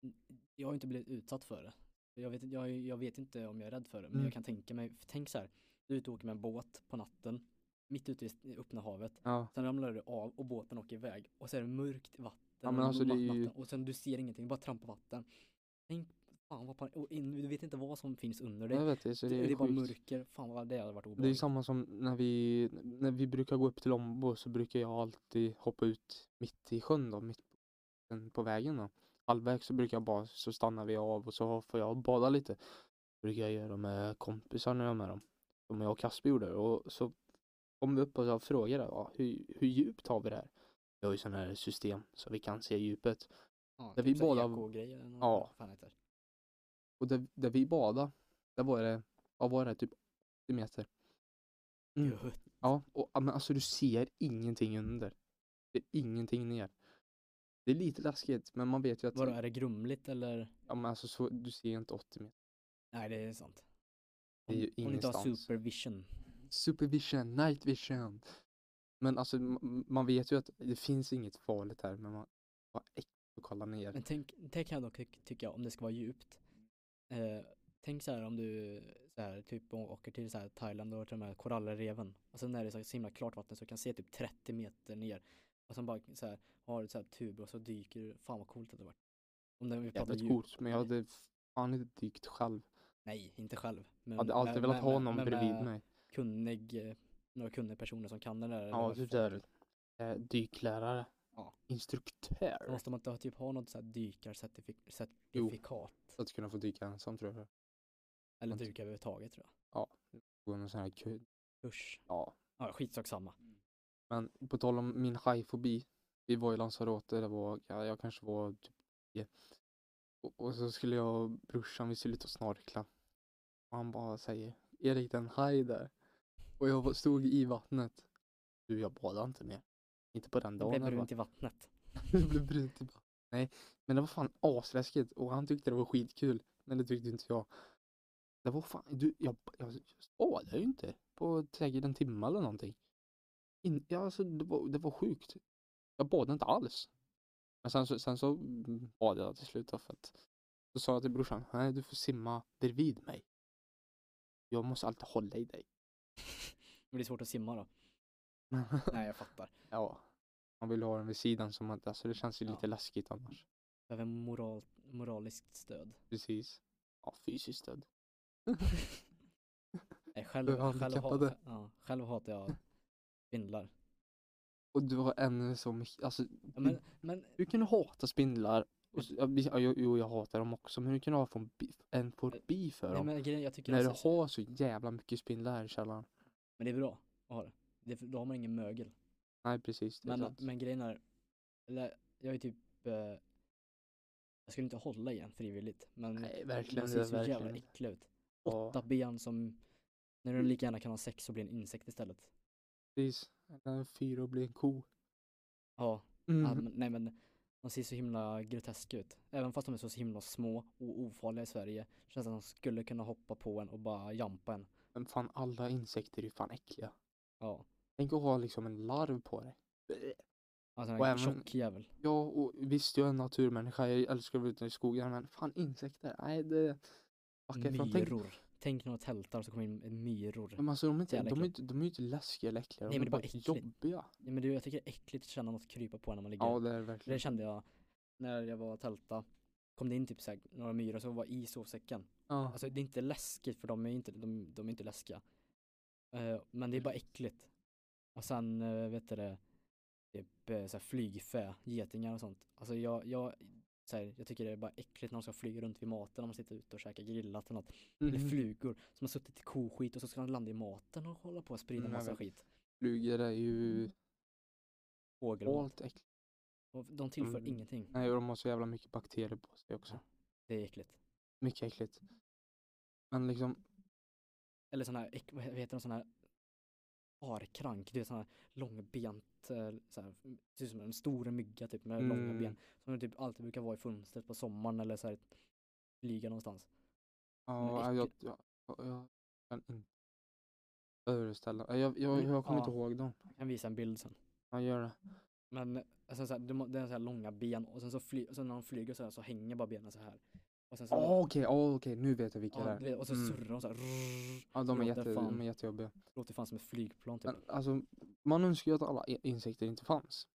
N- Jag har inte blivit utsatt för det. Jag vet, jag, jag vet inte om jag är rädd för det men
Mm.
jag kan tänka mig, tänk så här. Du är ute och åker med en båt på natten, mitt ute i öppna havet.
Ja.
Sen ramlar du av och båten åker iväg och så är det mörkt i vatten
Ja, men
och
alltså, det är ju-
vatten, och sen du ser ingenting, du bara trampar vatten. Tänk, fan vad pan- och in, du vet inte vad som finns under dig.
Jag vet det, så det,
det,
är
är bara
sjukt.
mörker, fan vad det hade varit
Det är ju
obehagligt.
samma som när vi, när vi brukar gå upp till Lombo så brukar jag alltid hoppa ut mitt i sjön då, mitt på- på vägen då. halvvägs så brukar jag bara, så stannar vi av och så får jag bada lite. Brukar jag göra med kompisar när jag är med dem. Som jag och Kasper gjorde och så kom vi upp och så frågade ja, hur, hur djupt har vi det här? Vi har ju sådana här system så vi kan se djupet.
Ja,
Där
typ
vi
så här
båda-
Eko-grejer eller något,
Ja.
vad fan heter.
Och där, där vi badade, där var det, vad var det, typ 80 meter. Mm.
Gött.
Ja, och ja, men alltså du ser ingenting under. Det är ingenting ner. Det är lite läskigt men man vet ju att
Vadå, är det grumligt eller?
ja, men alltså, så, du ser inte 80 meter.
Nej det är sant.
Det är ju
Om du inte har
ingenstans.
supervision.
Supervision, night vision. Men alltså m- man vet ju att det finns inget farligt här men man var äckligt att kolla ner.
Men tänk, det kan jag dock ty- tycka om det ska vara djupt. Eh, tänk så här om du så här, typ å- åker till så här Thailand och till de här korallreven. Och sen är det så, här, så himla klart vatten så du kan se typ 30 meter ner. Och sen bara så här, har du så här tub och så dyker du. Fan vad coolt det hade varit. Om det, vi pratar
Jävligt
djup.
coolt men jag hade fan inte dykt själv.
Nej, inte själv. Men eh,
Jag hade alltid velat ha någon bredvid
med
mig.
Kunnig, eh, några kunniga personer som kan det där. eller
Ja,
vad
typ
fan.
såhär eh, dyklärare.
Ja.
Instruktör.
Då måste man inte ha- typ ha något så här
Jo.
dykarcertifikat.
För att kunna få dyka ensam tror jag.
Eller
Någonting.
dyka överhuvudtaget tror jag.
Gå någon sån här kö.
Usch.
Ja.
Ja, skitsak samma.
Men på tal om min hajfobi. Vi var i Lanzarote, det var, ja, jag kanske var typ 10. Och, och så skulle jag och brorsan, vi skulle ut och snorkla. Och han bara säger, Erik det är en haj där. Och jag var- stod i vattnet. Du, jag badade inte mer. Inte på den
Det
dagen.
blev
eller vad?
brunt i vattnet.
Det blev brunt i vattnet. Nej, men det var fan asläskigt och han tyckte det var skitkul. Men det tyckte inte jag. Det var fan, du, jag, jag, jag spadade ju inte på säkert en timme eller någonting. In, ja, alltså, det, var, det var sjukt. Jag badade inte alls. Men sen, så- sen så mm, badade jag till slut då för att så sa jag till brorsan, nej du får simma bredvid mig. Jag måste alltid hålla i dig.
Men det är svårt att simma då. Nej, jag fattar.
ja, man vill ha den vid sidan som man, alltså det känns ju
Ja.
lite läskigt annars.
Behöver moral, moraliskt stöd.
Precis. Ja, fysiskt stöd.
Nej, själv,
För
själv,
handikappade.
hat, ja, själv hatar jag spindlar.
Och du har en som, alltså,
Ja, men, men
hur kan du hata spindlar? Och, så- ja, vi- ja, jo, jo, jag hatar dem också, men hur kan du ha fån- en fobi för
Nej
dem?
men grejen, jag tycker
När du
alltså,
har så jävla mycket spindlar här i källaren.
men det är bra att ha det. det är för- då har man ingen mögel.
Nej, precis. Det är
Men,
sant.
men grejen är, eller jag är typ, eh, jag skulle inte hålla igen frivilligt. Men
Nej, verkligen.
de
Det
ser
är
så jävla
verkligen.
äckliga ut. Åtta
Ja,
ben som, när du lika gärna kan ha sex och bli en insekt istället.
precis. Eller en fyra och blir en ko.
Ja,
Mm.
Ja, men, Ehm, nej men de ser så himla groteska ut. Även fast de är så himla små och ofarliga i Sverige. Känns som att de skulle kunna hoppa på en och bara jampa en.
Men fan, alla insekter är ju fan äckliga.
Ja.
Tänk att ha liksom en larv på dig.
Alltså
Och
en
även-
tjock jävel.
Ja, och visst, jag är en naturmänniska. Jag älskar att vara ute i skogen, men fan insekter. Nej, det... Backa ifrån. Tänk
Myror. Tänk några tältar så kommer in myror.
Men alltså de är, inte,
Jävla
de, är
äckligt.
inte, de är ju inte läskiga eller äckliga,
Nej,
de
men
är
det är
bara
bara äckligt.
jobbiga.
Ja, men du, jag tycker det är äckligt att känna något krypa på en när man ligger.
Ja det är det
Det
verkligen.
kände jag när jag var och tälta. Kom det in typ så här, några myror som var i sovsäcken.
Ja.
Alltså det är inte läskigt för de är inte, de, de är inte läskiga. Eh, men det är bara
Mm.
äckligt. Och sen, eh, vet du det, typ eh, såhär flygfä, getingar och sånt. Alltså jag, jag, såhär, jag tycker det är bara äckligt när de ska flyga runt vid maten, när man sitter ute och käkar grillat eller något. Eller
Mhm.
flugor som har suttit i koskit och så ska de landa i maten och hålla på och sprida
Mm, jag
massa
vet.
skit.
Flugor är ju
Mm, Fågelmat.
allt äckligt.
Och de tillför
Mm.
ingenting.
Nej och de har så jävla mycket bakterier på sig också.
Det är äckligt.
Mycket äckligt. Men liksom,
Eller sån här, äck- vad heter de, sån här arkrank, det är sån här långbent, eh, så här, ser ut som en stor mygga typ med långa
Mm.
ben. Som det typ alltid brukar vara i fönstret på sommaren eller så här flyga någonstans.
ja, jag,
Men
jag, jag, jag kan inte föreställa Jag, jag, jag, jag kommer
Ja.
inte ihåg dem.
Jag kan visa en bild sen.
Jag gör det.
Men eh, alltså, så här, de har- det är så här långa ben och sen så, fly, och sen när de flyger så, här, så hänger bara benen så här. Och sen så
Ah, Okej, ah, okej, nu vet jag vilka det
Alltså- ja, du
är.
vet, och så
Mm.
surrar de så här. rrrr,
Ja, de är,
låter
jätte,
fan. typ.
de är jättejobbiga.
låter fan som ett flygplan typ.
Men alltså, man önskar ju att alla i- insekter inte fanns.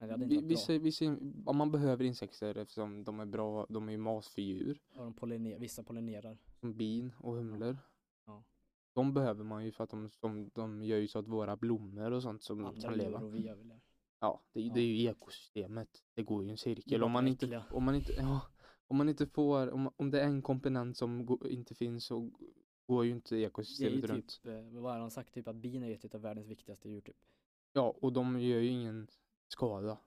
Men det hade inte
Vi,
varit bra.
vissa, vissa, ja, man behöver insekter eftersom de är bra, de är ju mat för djur.
Och de polliner, vissa pollinerar.
som bin och humlor.
Ja.
De behöver man ju för att de, de, de gör ju så att våra blommor och sånt som Mm, kan
Andra djur
leva.
och vi överlever.
Ja, det, det är ju ekosystemet. Det går ju en cirkel. Om man, inte,
äckliga.
om, man inte, ja, om man inte får, om, om det är en komponent som gå- inte finns så g- går ju inte
Det är ju
ekosystemet runt.
typ, eh, vad har han sagt, typ att bin är ju ett av världens viktigaste djur typ.
Ja, och de gör ju ingen skada.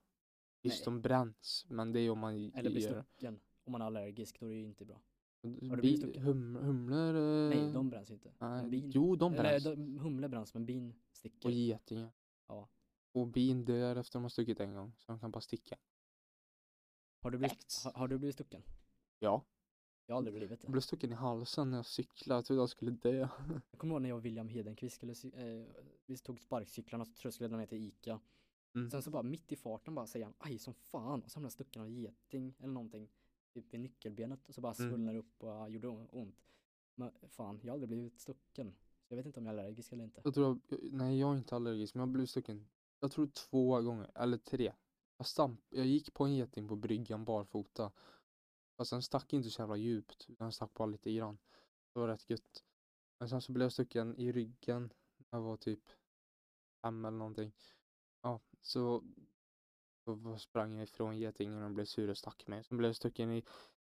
Visst,
Nej.
de bränns, men det är ju om man
Eller blir
gör...
stucken. Om man är allergisk då är det ju inte bra.
Bi,
har du blivit stucken?
hum, humlor...
Nej,
eh,
de bränns ju inte.
nej,
bin-
Jo, de
Eller
bränns.
de, humlor bränns men bin sticker.
Och getingar.
Ja.
Och bin dör efter de har stuckit en gång, så de kan bara sticka.
har, du blivit, har, har du blivit stucken?
Ja,
Jag har aldrig blivit
jag
det.
blev stucken i halsen när jag cyklade, jag trodde jag skulle dö.
Jag kommer ihåg när jag och William Hedenqvist skulle, cy- eh, vi tog sparkcyklarna så trösklade ner till Ica.
Mm.
Sen så bara mitt i farten bara säger han aj som fan och så hamnade jag stucken av en geting eller någonting. Typ vid nyckelbenet och så bara
Mm.
svullnade det upp och ah, gjorde o- ont. Men fan, jag har aldrig blivit stucken. Så jag vet inte om jag är allergisk eller inte.
Jag tror, jag- nej jag är inte allergisk, men jag blev stucken, jag tror två gånger, eller tre. Jag, stamp, jag gick på en geting på bryggan barfota. Fast den stack inte så jävla djupt, utan den stack bara lite grann. Det var rätt gött. Men sen så blev jag stucken i ryggen när jag var typ fem eller någonting. Ja, så då var- sprang jag ifrån getingen och blev sur och stack mig. Sen blev jag stucken i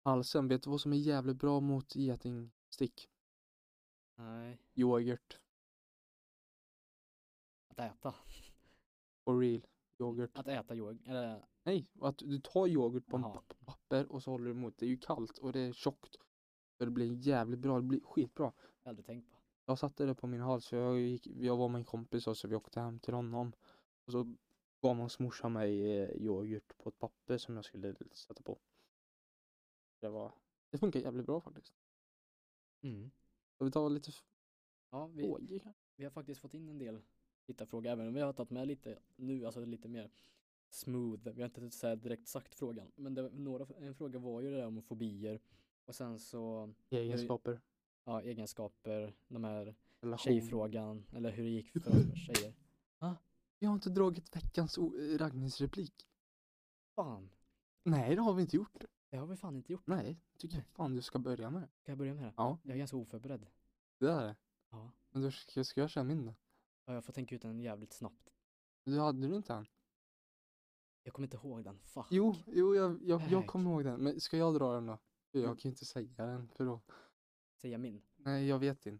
halsen. Vet du vad som är jävligt bra mot getingstick?
Nej,
Yoghurt.
att äta.
For real. Yoghurt.
Att äta yoghurt. Eller
Nej, att du tar yoghurt på en
Jaha.
papp- papper och så håller du emot. Det är ju kallt och det är tjockt. Så det blir jävligt bra, det blir skitbra.
aldrig tänkt på.
Jag satte det på min hals för jag, gick, jag var med en kompis och så vi åkte hem till honom. Och så gav hans morsa mig eh, yoghurt på ett papper som jag skulle sätta på. Det var, det funkar jävligt bra faktiskt. Mm. Ska vi ta lite
Ja, vi,
frågor kanske?
vi har faktiskt fått in en del tittarfrågor även om vi har tagit med lite nu, alltså lite mer smooth. Vi har inte så här direkt sagt frågan, men det, var- några, en fråga var ju det där om fobier och sen så
Egenskaper,
ja, egenskaper, de här
relation.
tjejfrågan eller hur det gick för oss med tjejer.
Vi har inte dragit veckans o- eh, raggningsreplik.
Fan,
Nej, det har vi inte gjort.
det har vi fan inte gjort.
Nej, tycker jag fan du ska börja med det.
Ska jag börja med det?
Ja.
Jag är ganska oförberedd.
Det är det.
Ja.
Men då ska, ska jag köra min då?
Ja, jag får tänka ut den jävligt snabbt.
Du hade du inte han?
Jag kommer inte ihåg den, fuck.
Jo, jo jag, jag, jag
Ägg.
kommer ihåg den. Men ska jag dra den då? För
Mm.
Jag kan ju inte säga den för då.
Säga min.
Nej, jag vet din.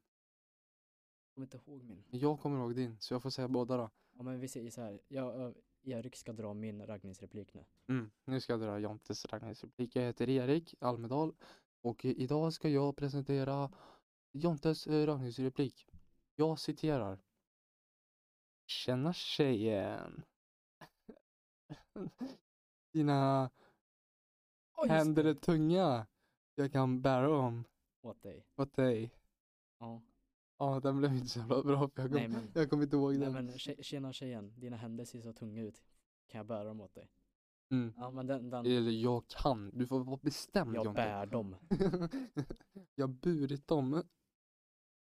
Jag kommer inte ihåg min.
Men Jag kommer ihåg din, så jag får säga båda då.
Ja men vi säger så här, jag, ö, Erik ska dra min raggningsreplik nu.
Mm. Nu ska jag dra Jontes raggningsreplik. Jag heter Erik Almedal och i- idag ska jag presentera Jontes eh, raggningsreplik. Jag citerar. Tjena tjejen. Dina
Oh,
händer är tunga. Jag kan bära dem
Åt dig.
åt dig.
Ja.
Ja, den blev inte så jävla bra för jag
Nej
kommer
men,
jag kom inte ihåg
nej,
den.
men tje- tjena tjejen, dina händer ser så tunga ut. Kan jag bära dem åt dig?
Mm.
Ja men den, den
Eller jag kan, du får vara bestämd
jag
Jonte.
bär dem.
jag har burit dem.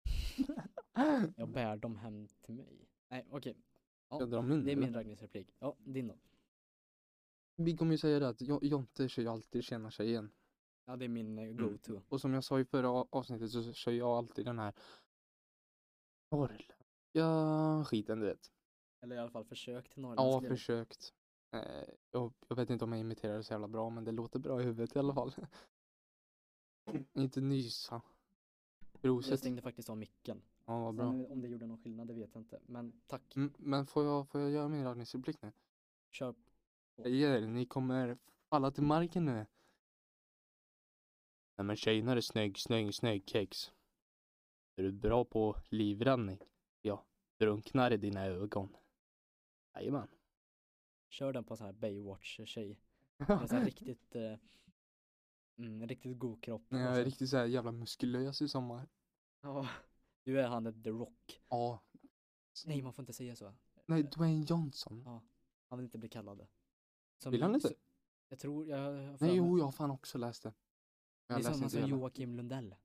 Jag bär dem hem till mig. Nej okej,
Ska jag dra min,
det är
eller?
min raggningsreplik. Ja, din då.
Vi kommer ju säga det att Jo- Jonte kör ju alltid tjena tjejen.
Ja det är min
Mm.
eh, go-to.
Och som jag sa i förra a- avsnittet så kör jag alltid den här norrländska skiten du vet.
Eller i alla fall försök till
Ja,
norrländska.
försökt. Eh, jag, jag vet inte om jag imiterar det så jävla bra men det låter bra i huvudet i alla fall. inte nysa.
jag
Proset.
stängde faktiskt av micken.
Ja, vad bra.
Sen, eh, om det gjorde någon skillnad det vet jag inte. Men tack,
Mm, Men får jag, får jag göra min raggningsreplik nu?
kör.
Tjejer, ni kommer falla till marken nu. Nej men tjejerna är snygg, snygg, snygg kex. Är du bra på livräddning? Ja, drunknar i dina ögon. Jajamän.
Kör den på en sån här Baywatch-tjej. En sån här riktigt, eh, mm, en riktigt god kropp. alltså.
Nej,
Och
jag
så-
är riktigt såhär jävla muskulös i sommar.
Ja. Du är han The Rock.
Ja.
Nej man får inte säga så.
Nej, Dwayne Johnson.
Han vill inte bli kallad det. Som,
Vill han inte?
så- Jag tror, jag har för
Nej,
mig-
jo, jag har fan också läst det. Men
Det är
jag läste
samma
inte
som
hela.
Joakim Lundell.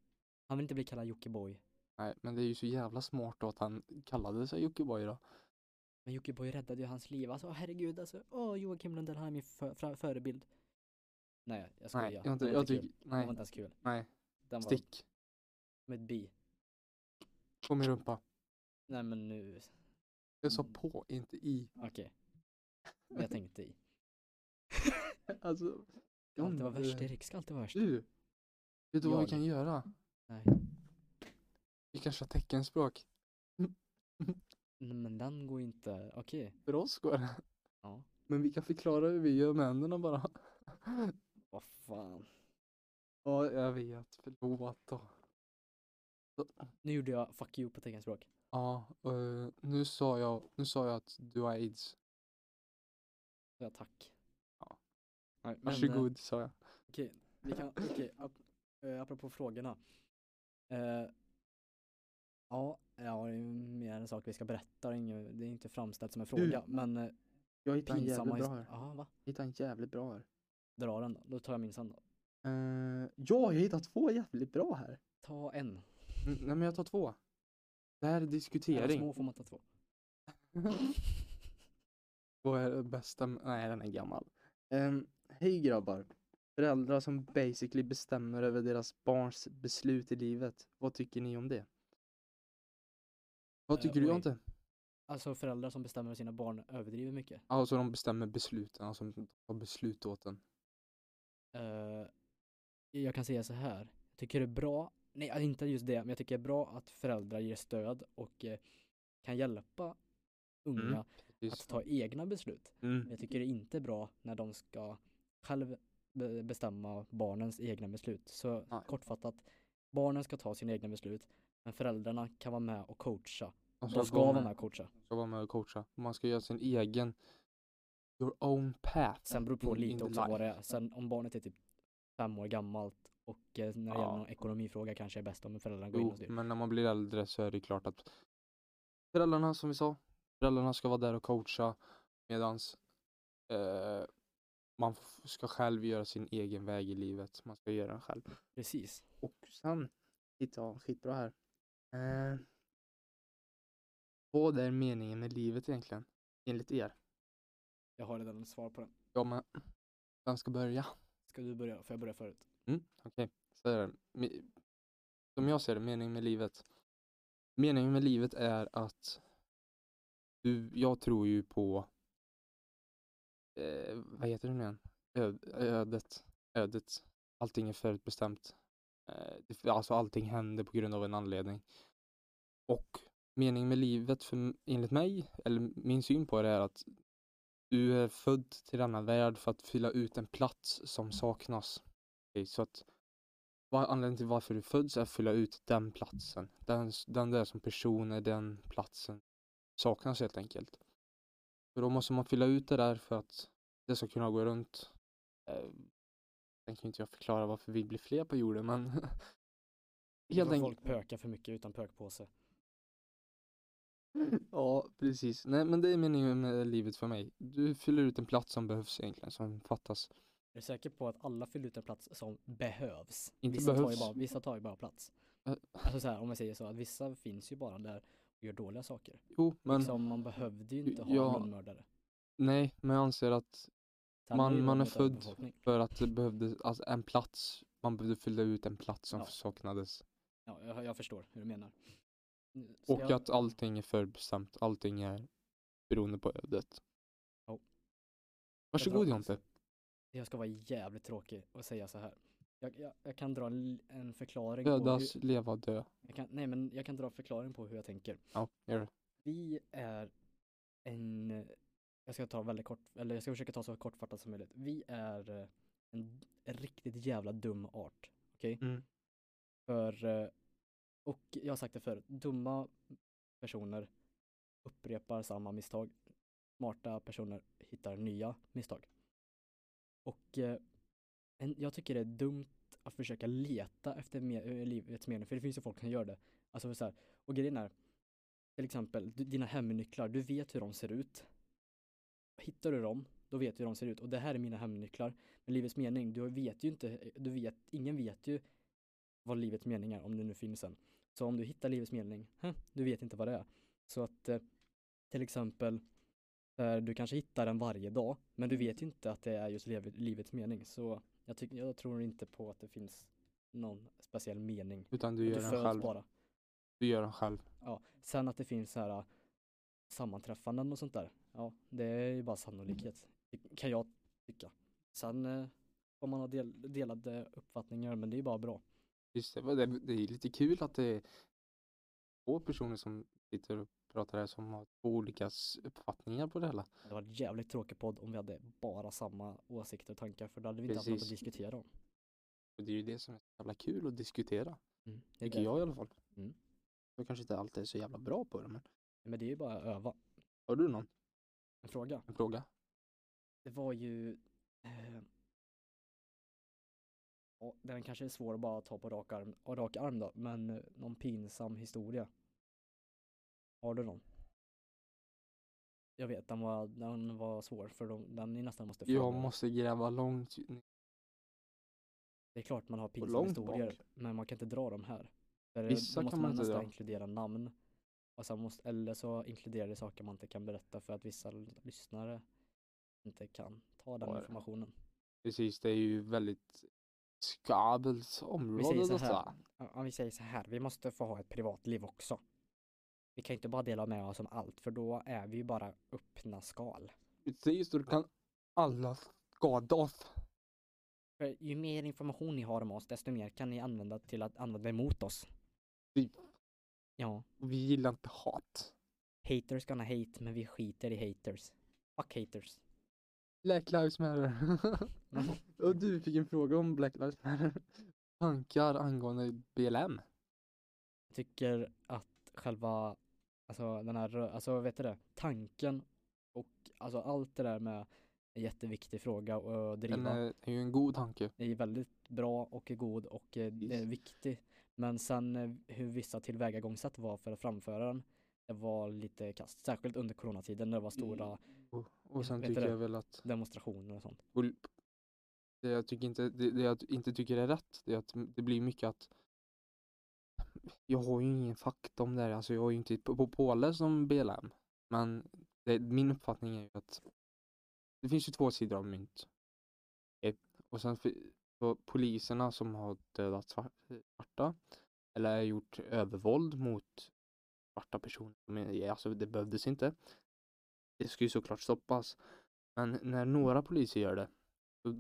Han vill inte bli kallad Jockiboi.
Nej, men det är ju så jävla smart då att han kallade sig Jockiboi då.
Men Jockiboi räddade ju hans liv. Alltså herregud alltså. Åh Joakim Lundell, han är min för, fra- förebild. Nej jag skojar.
Nej, jag, har inte,
Den var
jag
inte kul.
tycker,
Den var
nej,
inte ens kul.
nej,
Den var
stick.
med ett bi.
På min rumpa.
Nej men nu,
Jag sa
Mm.
på, inte i.
okej. vad jag tänkte i.
Alltså,
Ska alltid vara
John,
värst,
du-
Erik ska alltid vara värst.
Du! Vet du vad vi
Jag.
kan göra?
Nej.
Vi kan köra teckenspråk.
Nej, Men den går ju inte, okej.
För oss går det.
Ja.
Men vi kan förklara hur vi gör med händerna bara.
Vad fan.
Ja, jag vet. Förlåt då.
Nu gjorde jag fuck you på teckenspråk.
Ja, eh, nu sa jag, nu sa jag att du har aids.
Så jag tack.
Ja.
Nej, men, eh,
Varsågod, sa jag.
Okej, vi kan, okej, ap- eh, apropå frågorna. Eh, ja, ja, det är ju mer en sak vi ska berätta, det är, inget, det är inte framställt som en fråga, men eh,
Jag hittade en
pinsamma
jävligt bra
historia.
här.
Ja, va?
Jag hittade en jävligt bra här.
Dra den då, då tar jag min sen då.
Eh, ja, jag hittade två jävligt bra här.
Ta en.
Mm, nej, men jag tar två. Det här är
Alla
diskutering.
små får man ta två.
Vad är det bästa? med- Nej, den är gammal. Ehm, Hej grabbar. Föräldrar som basically bestämmer över deras barns beslut i livet. Vad tycker ni om det? Vad
Eh,
tycker du
oj.
om det?
Alltså föräldrar som bestämmer över sina barn överdriver mycket.
Alltså de bestämmer besluten, alltså de tar beslut åt en.
Eh, jag kan säga så här. Jag tycker det är bra, nej alltså inte just det, men jag tycker det är bra att föräldrar ger stöd och eh, kan hjälpa unga
Mm,
att ta egna beslut. Men
Mm.
jag tycker det är inte är bra när de ska själv be- bestämma barnens egna beslut. Så
Nej.
kortfattat, barnen ska ta sina egna beslut, men föräldrarna kan vara med och coacha.
Alltså,
De
att
ska
de
vara med och coacha.
ska vara med och coacha. Man ska göra sin egen, your own path.
Sen beror det på
in- in
lite
the
också vad
life.
det är. Sen om barnet är typ fem år gammalt och eh, när det
Ja.
gäller någon ekonomifråga kanske är bäst om föräldrarna går in
Jo,
och styr.
men när man blir äldre så är det klart att föräldrarna, som vi sa, föräldrarna ska vara där och coacha medans eh, man f- ska själv göra sin egen väg i livet. Man ska göra den själv.
Precis.
Och sen hittade jag en skitbra här. Eh, vad är meningen med livet egentligen? Enligt er?
Jag har redan ett svar på den.
Ja, men vem ska börja?
Ska du börja? Får jag börja förut?
Mm, Okej, så är det. Me- Som jag ser det, meningen med livet. Meningen med livet är att du, jag tror ju på eh, vad heter det nu igen? Ö, ödet. Ödet. Allting är förutbestämt. Eh, det- alltså allting händer på grund av en anledning. Och meningen med livet för, m- enligt mig, eller min syn på det är att du är född till denna värld för att fylla ut en plats som saknas. Okej, Så att var, anledningen till varför du föds är att fylla ut den platsen. Den, s- den där som person är den platsen saknas helt enkelt. För då måste man fylla ut det där för att det ska kunna gå runt. Eh, sen kan ju inte jag förklara varför vi blir fler på jorden men helt enkelt.
Helt
Mm.
Folk pökar för mycket utan pökpåse.
Ja, precis. Nej, men det är meningen med livet för mig. Du fyller ut en plats som behövs egentligen, som fattas.
Är du säker på att alla fyller ut en plats som behövs?
Inte
vissa Tar ju
behövs.
bara, vissa tar ju bara plats.
Eh.
Alltså så här, om man säger så, att vissa finns ju bara där och gör dåliga saker.
Jo, men
Liksom, man behövde ju inte ha
Ja.
en mördare.
nej, men jag anser att
Sen
Man-
har ju
man
de
är
ett
född-
överbefolkning.
För att det behövdes, alltså en plats, man behövde fylla ut en plats som
Ja.
saknades.
Ja, jag, jag förstår hur du menar. Ska
Och
jag-
att allting är förbestämt, allting är beroende på ödet.
Ja.
Varsågod
drar-
Jonte.
Jag ska vara jävligt tråkig och säga så här. Jag, jag, jag kan dra en, l- en förklaring på hur,
Födas, leva, dö.
jag kan, nej men jag kan dra en förklaring på hur jag tänker.
Ja, gör det.
Vi är en, eh, jag ska ta väldigt kort, eller jag ska försöka ta så kortfattat som möjligt. Vi är eh, en, en riktigt jävla dum art. Okej?
Mm.
För, eh, och jag har sagt det förut, dumma personer upprepar samma misstag. Smarta personer hittar nya misstag. Och eh, en, jag tycker det är dumt att försöka leta efter me- eh, livets mening, för det finns ju folk som gör det. Alltså så här, och grejen är, till exempel du, dina hemnycklar, du vet hur de ser ut. Hittar du dem, då vet du hur de ser ut. Och det här är mina hemnycklar. Men livets mening, du vet ju inte, eh, du vet, ingen vet ju vad livets mening är, om det nu finns en. Så om du hittar livets mening, huh, du vet inte vad det är. Så att eh, till exempel, eh, du kanske hittar den varje dag, men
Mm.
du vet ju inte att det är just lev- livets mening. Så jag, tycker, jag tror inte på att det finns någon speciell mening.
Utan du
Du
gör den
föds
själv.
bara.
Du gör den själv.
Ja. Sen att det finns så här eh, sammanträffanden och sånt där. Ja, det är ju bara sannolikhet, Det kan jag tycka. Sen eh, om man har del, delade uppfattningar, men det är ju bara bra.
Just det, vad det, det är lite kul att det är två personer som sitter och pratar här som har två olika s- uppfattningar på det hela.
Det hade varit en jävligt tråkig podd om vi hade bara samma åsikter och tankar, för då hade vi inte haft något att
Precis.
diskutera om.
Och det är ju det som är så jävla kul att diskutera.
Det är
Tycker jag i alla fall.
Mm.
Jag kanske inte alltid är så jävla bra på det men
Men det är ju bara att öva.
har du någon
En fråga.
en fråga?
Det var ju... Eh, ja, den kanske är svår att bara ta på rak arm, och rak arm då, men eh, någon pinsam historia. Har du någon? Jag vet, den var, den var svår för de, den är nästan måste
Jag
förbereda.
måste gräva långt
Det är klart man har pinsamma
långt
historier,
bak.
men man kan inte dra dem här. Där
Vissa
Vissa måste
kan man
man
inte
nästan
dra.
inkludera namn. Och sen måste, eller så inkluderar det saker man inte kan berätta för att vissa l- lyssnare inte kan ta den
Ja, ja.
informationen.
Precis, det är ju väldigt skabelt område
så
detta.
här. Ja, Om vi säger så här, vi måste få ha ett privatliv också. Vi kan inte bara dela med oss om allt för då är vi ju bara öppna skal.
Precis, och då kan alla skada oss.
För ju mer information ni har om oss desto mer kan ni använda till att använda emot oss.
Typ.
Ja.
Och vi gillar inte hat.
Haters gonna hate, men vi skiter i haters. Fuck haters.
Black Lives Matter. och du fick en fråga om Black Lives Matter. Tankar angående BLM.
Tycker att själva, alltså den här, rö- alltså vet du det, tanken och alltså allt det där med en jätteviktig fråga och att
Den
eh, driva
är, är ju en god tanke.
är väldigt bra och är god och eh, det är
eh, Yes.
viktig. Men sen eh, hur vissa tillvägagångssätt var för att framföra den, det var lite kast. Särskilt under coronatiden när det var
Mm.
stora
Och, och sen
Vet
tycker
du-
jag väl att
demonstrationer och sånt.
Och l- det jag, tycker inte, det, det jag inte tycker är rätt, det är att m- det blir mycket att jag har ju ingen fakta om det här, alltså jag är ju inte på, på påläst om BLM. Men det, min uppfattning är ju att det finns ju två sidor av mynt. Eh, Och sen fi- så poliserna som har dödat svar- svarta eller gjort övervåld mot svarta personer, men eh, alltså det behövdes inte. Det ska ju såklart stoppas. Men när några poliser gör det, då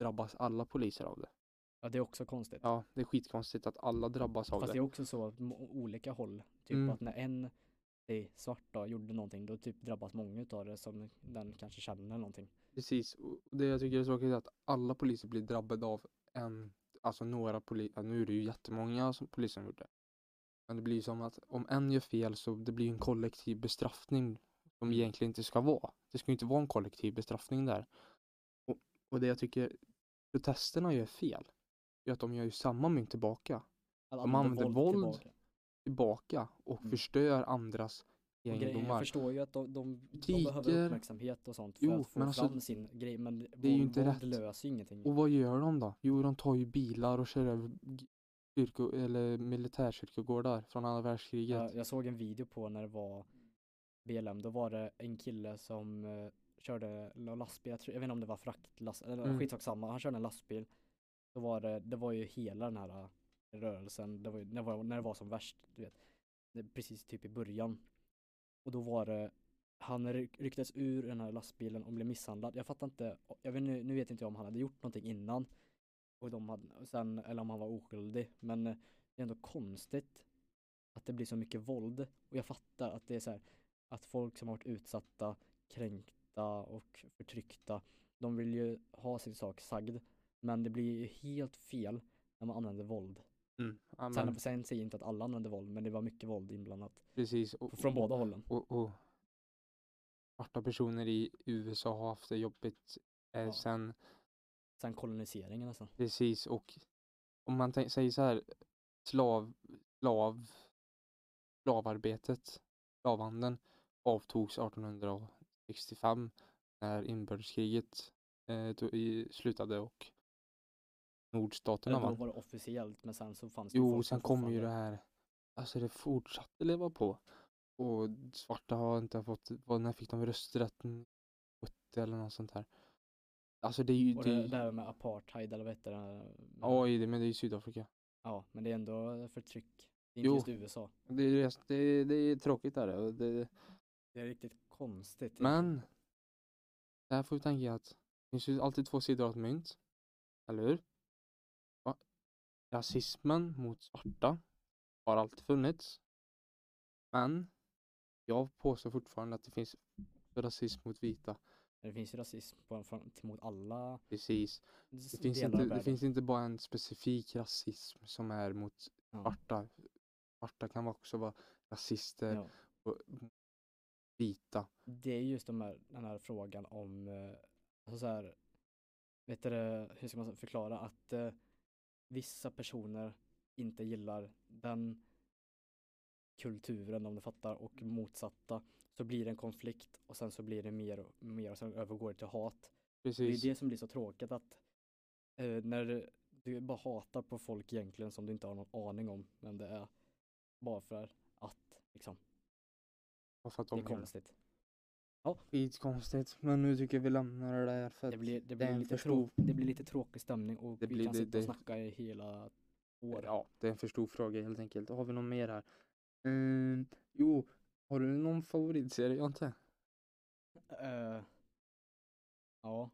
drabbas alla poliser av det.
Ja, det är också konstigt.
Ja, det är skitkonstigt att alla drabbas av
Fast det
det.
är också så att må- olika håll, typ
Mm.
att när en i svarta gjorde någonting då typ drabbas många utav det som den kanske känner eller någonting.
Precis, och det jag tycker är tråkigt är att alla poliser blir drabbade av en, alltså några poliser, nu är det ju jättemånga som polisen gjort det. Men det blir som att om en gör fel så det blir en kollektiv bestraffning som
Mm.
egentligen inte ska vara. Det ska ju inte vara en kollektiv bestraffning där. Och, och det jag tycker protesterna gör fel, är att de gör ju samma mynt tillbaka.
Att
De använder våld
tillbaka.
tillbaka och
Mm.
förstör andras
Och grejen- Jag
egendomar.
förstår ju att de, de, de
Butiker.
behöver uppmärksamhet och sånt för
Jo,
att få
men alltså,
fram sin grej men
det är ju
våld-
inte
våld
rätt.
löser ju ingenting.
Och vad gör de då? Jo, de tar ju bilar och kör över g- kyrko, eller militärkyrkogårdar från andra världskriget.
Jag, jag såg en video på när det var BLM, då var det en kille som eh, körde la- lastbil, jag, tror, jag vet inte om det var fraktlast, eller
Mm.
skitsak samma, han körde en lastbil. Då var det, det var ju hela den här eh, rörelsen, det var, ju- när, det var, när det var som värst, du vet. Det, precis typ i början. Och då var det, han ryck- rycktes ur den här lastbilen och blev misshandlad. Jag fattar inte, jag vet, nu nu vet inte jag om han hade gjort någonting innan. Och de hade, och sen, eller om han var oskyldig. Men eh, det är ändå konstigt att det blir så mycket våld. Och jag fattar att det är så här, att folk som har varit utsatta, kränkta och förtryckta, de vill ju ha sin sak sagd. Men det blir ju helt fel när man använder våld.
Mm. Ja, men,
Sen, sen säger jag inte att alla använder våld, men det var mycket våld inblandat.
precis. Och,
Från
och,
båda hållen.
Och, och svarta personer i USA har haft det jobbigt eh,
Ja.
sen
Sen koloniseringen alltså. nästan.
Precis, och om man tän- säger så här, slav, slav, slavarbetet, slavhandeln avtogs 1865 när inbördeskriget eh, to- i, slutade och nordstaterna
Eller då
vann.
var det officiellt, men sen så fanns det
Jo,
folk som
sen kommer ju det
fortfarande-
här, alltså det fortsatte leva på. Och svarta har inte fått, vad, när fick de rösträtten? 70 eller något sånt här. Alltså det är ju,
Och
det,
det,
är-
det här med apartheid eller vad heter det?
oj, det- men det är ju Sydafrika.
Ja, men det är ändå förtryck. Det är inte
Jo.
just USA.
Det är, det, det är tråkigt där. och Det,
Det är riktigt konstigt.
Men där får vi tänka att det finns ju alltid två sidor av ett mynt. Eller hur? Va? Rasismen mot svarta har alltid funnits. Men jag påstår fortfarande att det finns rasism mot vita.
Det finns ju rasism på, från, mot alla
Precis.
s-
Det finns,
delar
inte,
av
det
världen.
finns inte bara en specifik rasism som är mot
ja.
svarta. Svarta kan också vara rasister
Ja.
och vita.
Det är just de här, den här frågan om, eh, alltså så här, vet du, det, hur ska man förklara att eh, vissa personer inte gillar den kulturen om du fattar och motsatta så blir det en konflikt och sen så blir det mer och mer och sen övergår det till hat. Det är
Precis.
ju det som blir så tråkigt att eh, när du- du bara hatar på folk egentligen som du inte har någon aning om vem det är. Bara för att liksom,
Bara för att
det är
de gör det.
konstigt.
Skitkonstigt, men nu tycker jag vi lämnar det där för att
Det blir, det
det är
blir,
en
lite,
för stor-
trå- det blir lite tråkig stämning och
Det
vi
blir
kan
det-
sitta
det-
och snacka i hela år.
ja, det är en för stor fråga helt enkelt. Har vi någon mer här? Ehm, jo, har du någon favoritserie Jonte?
Eh, ja.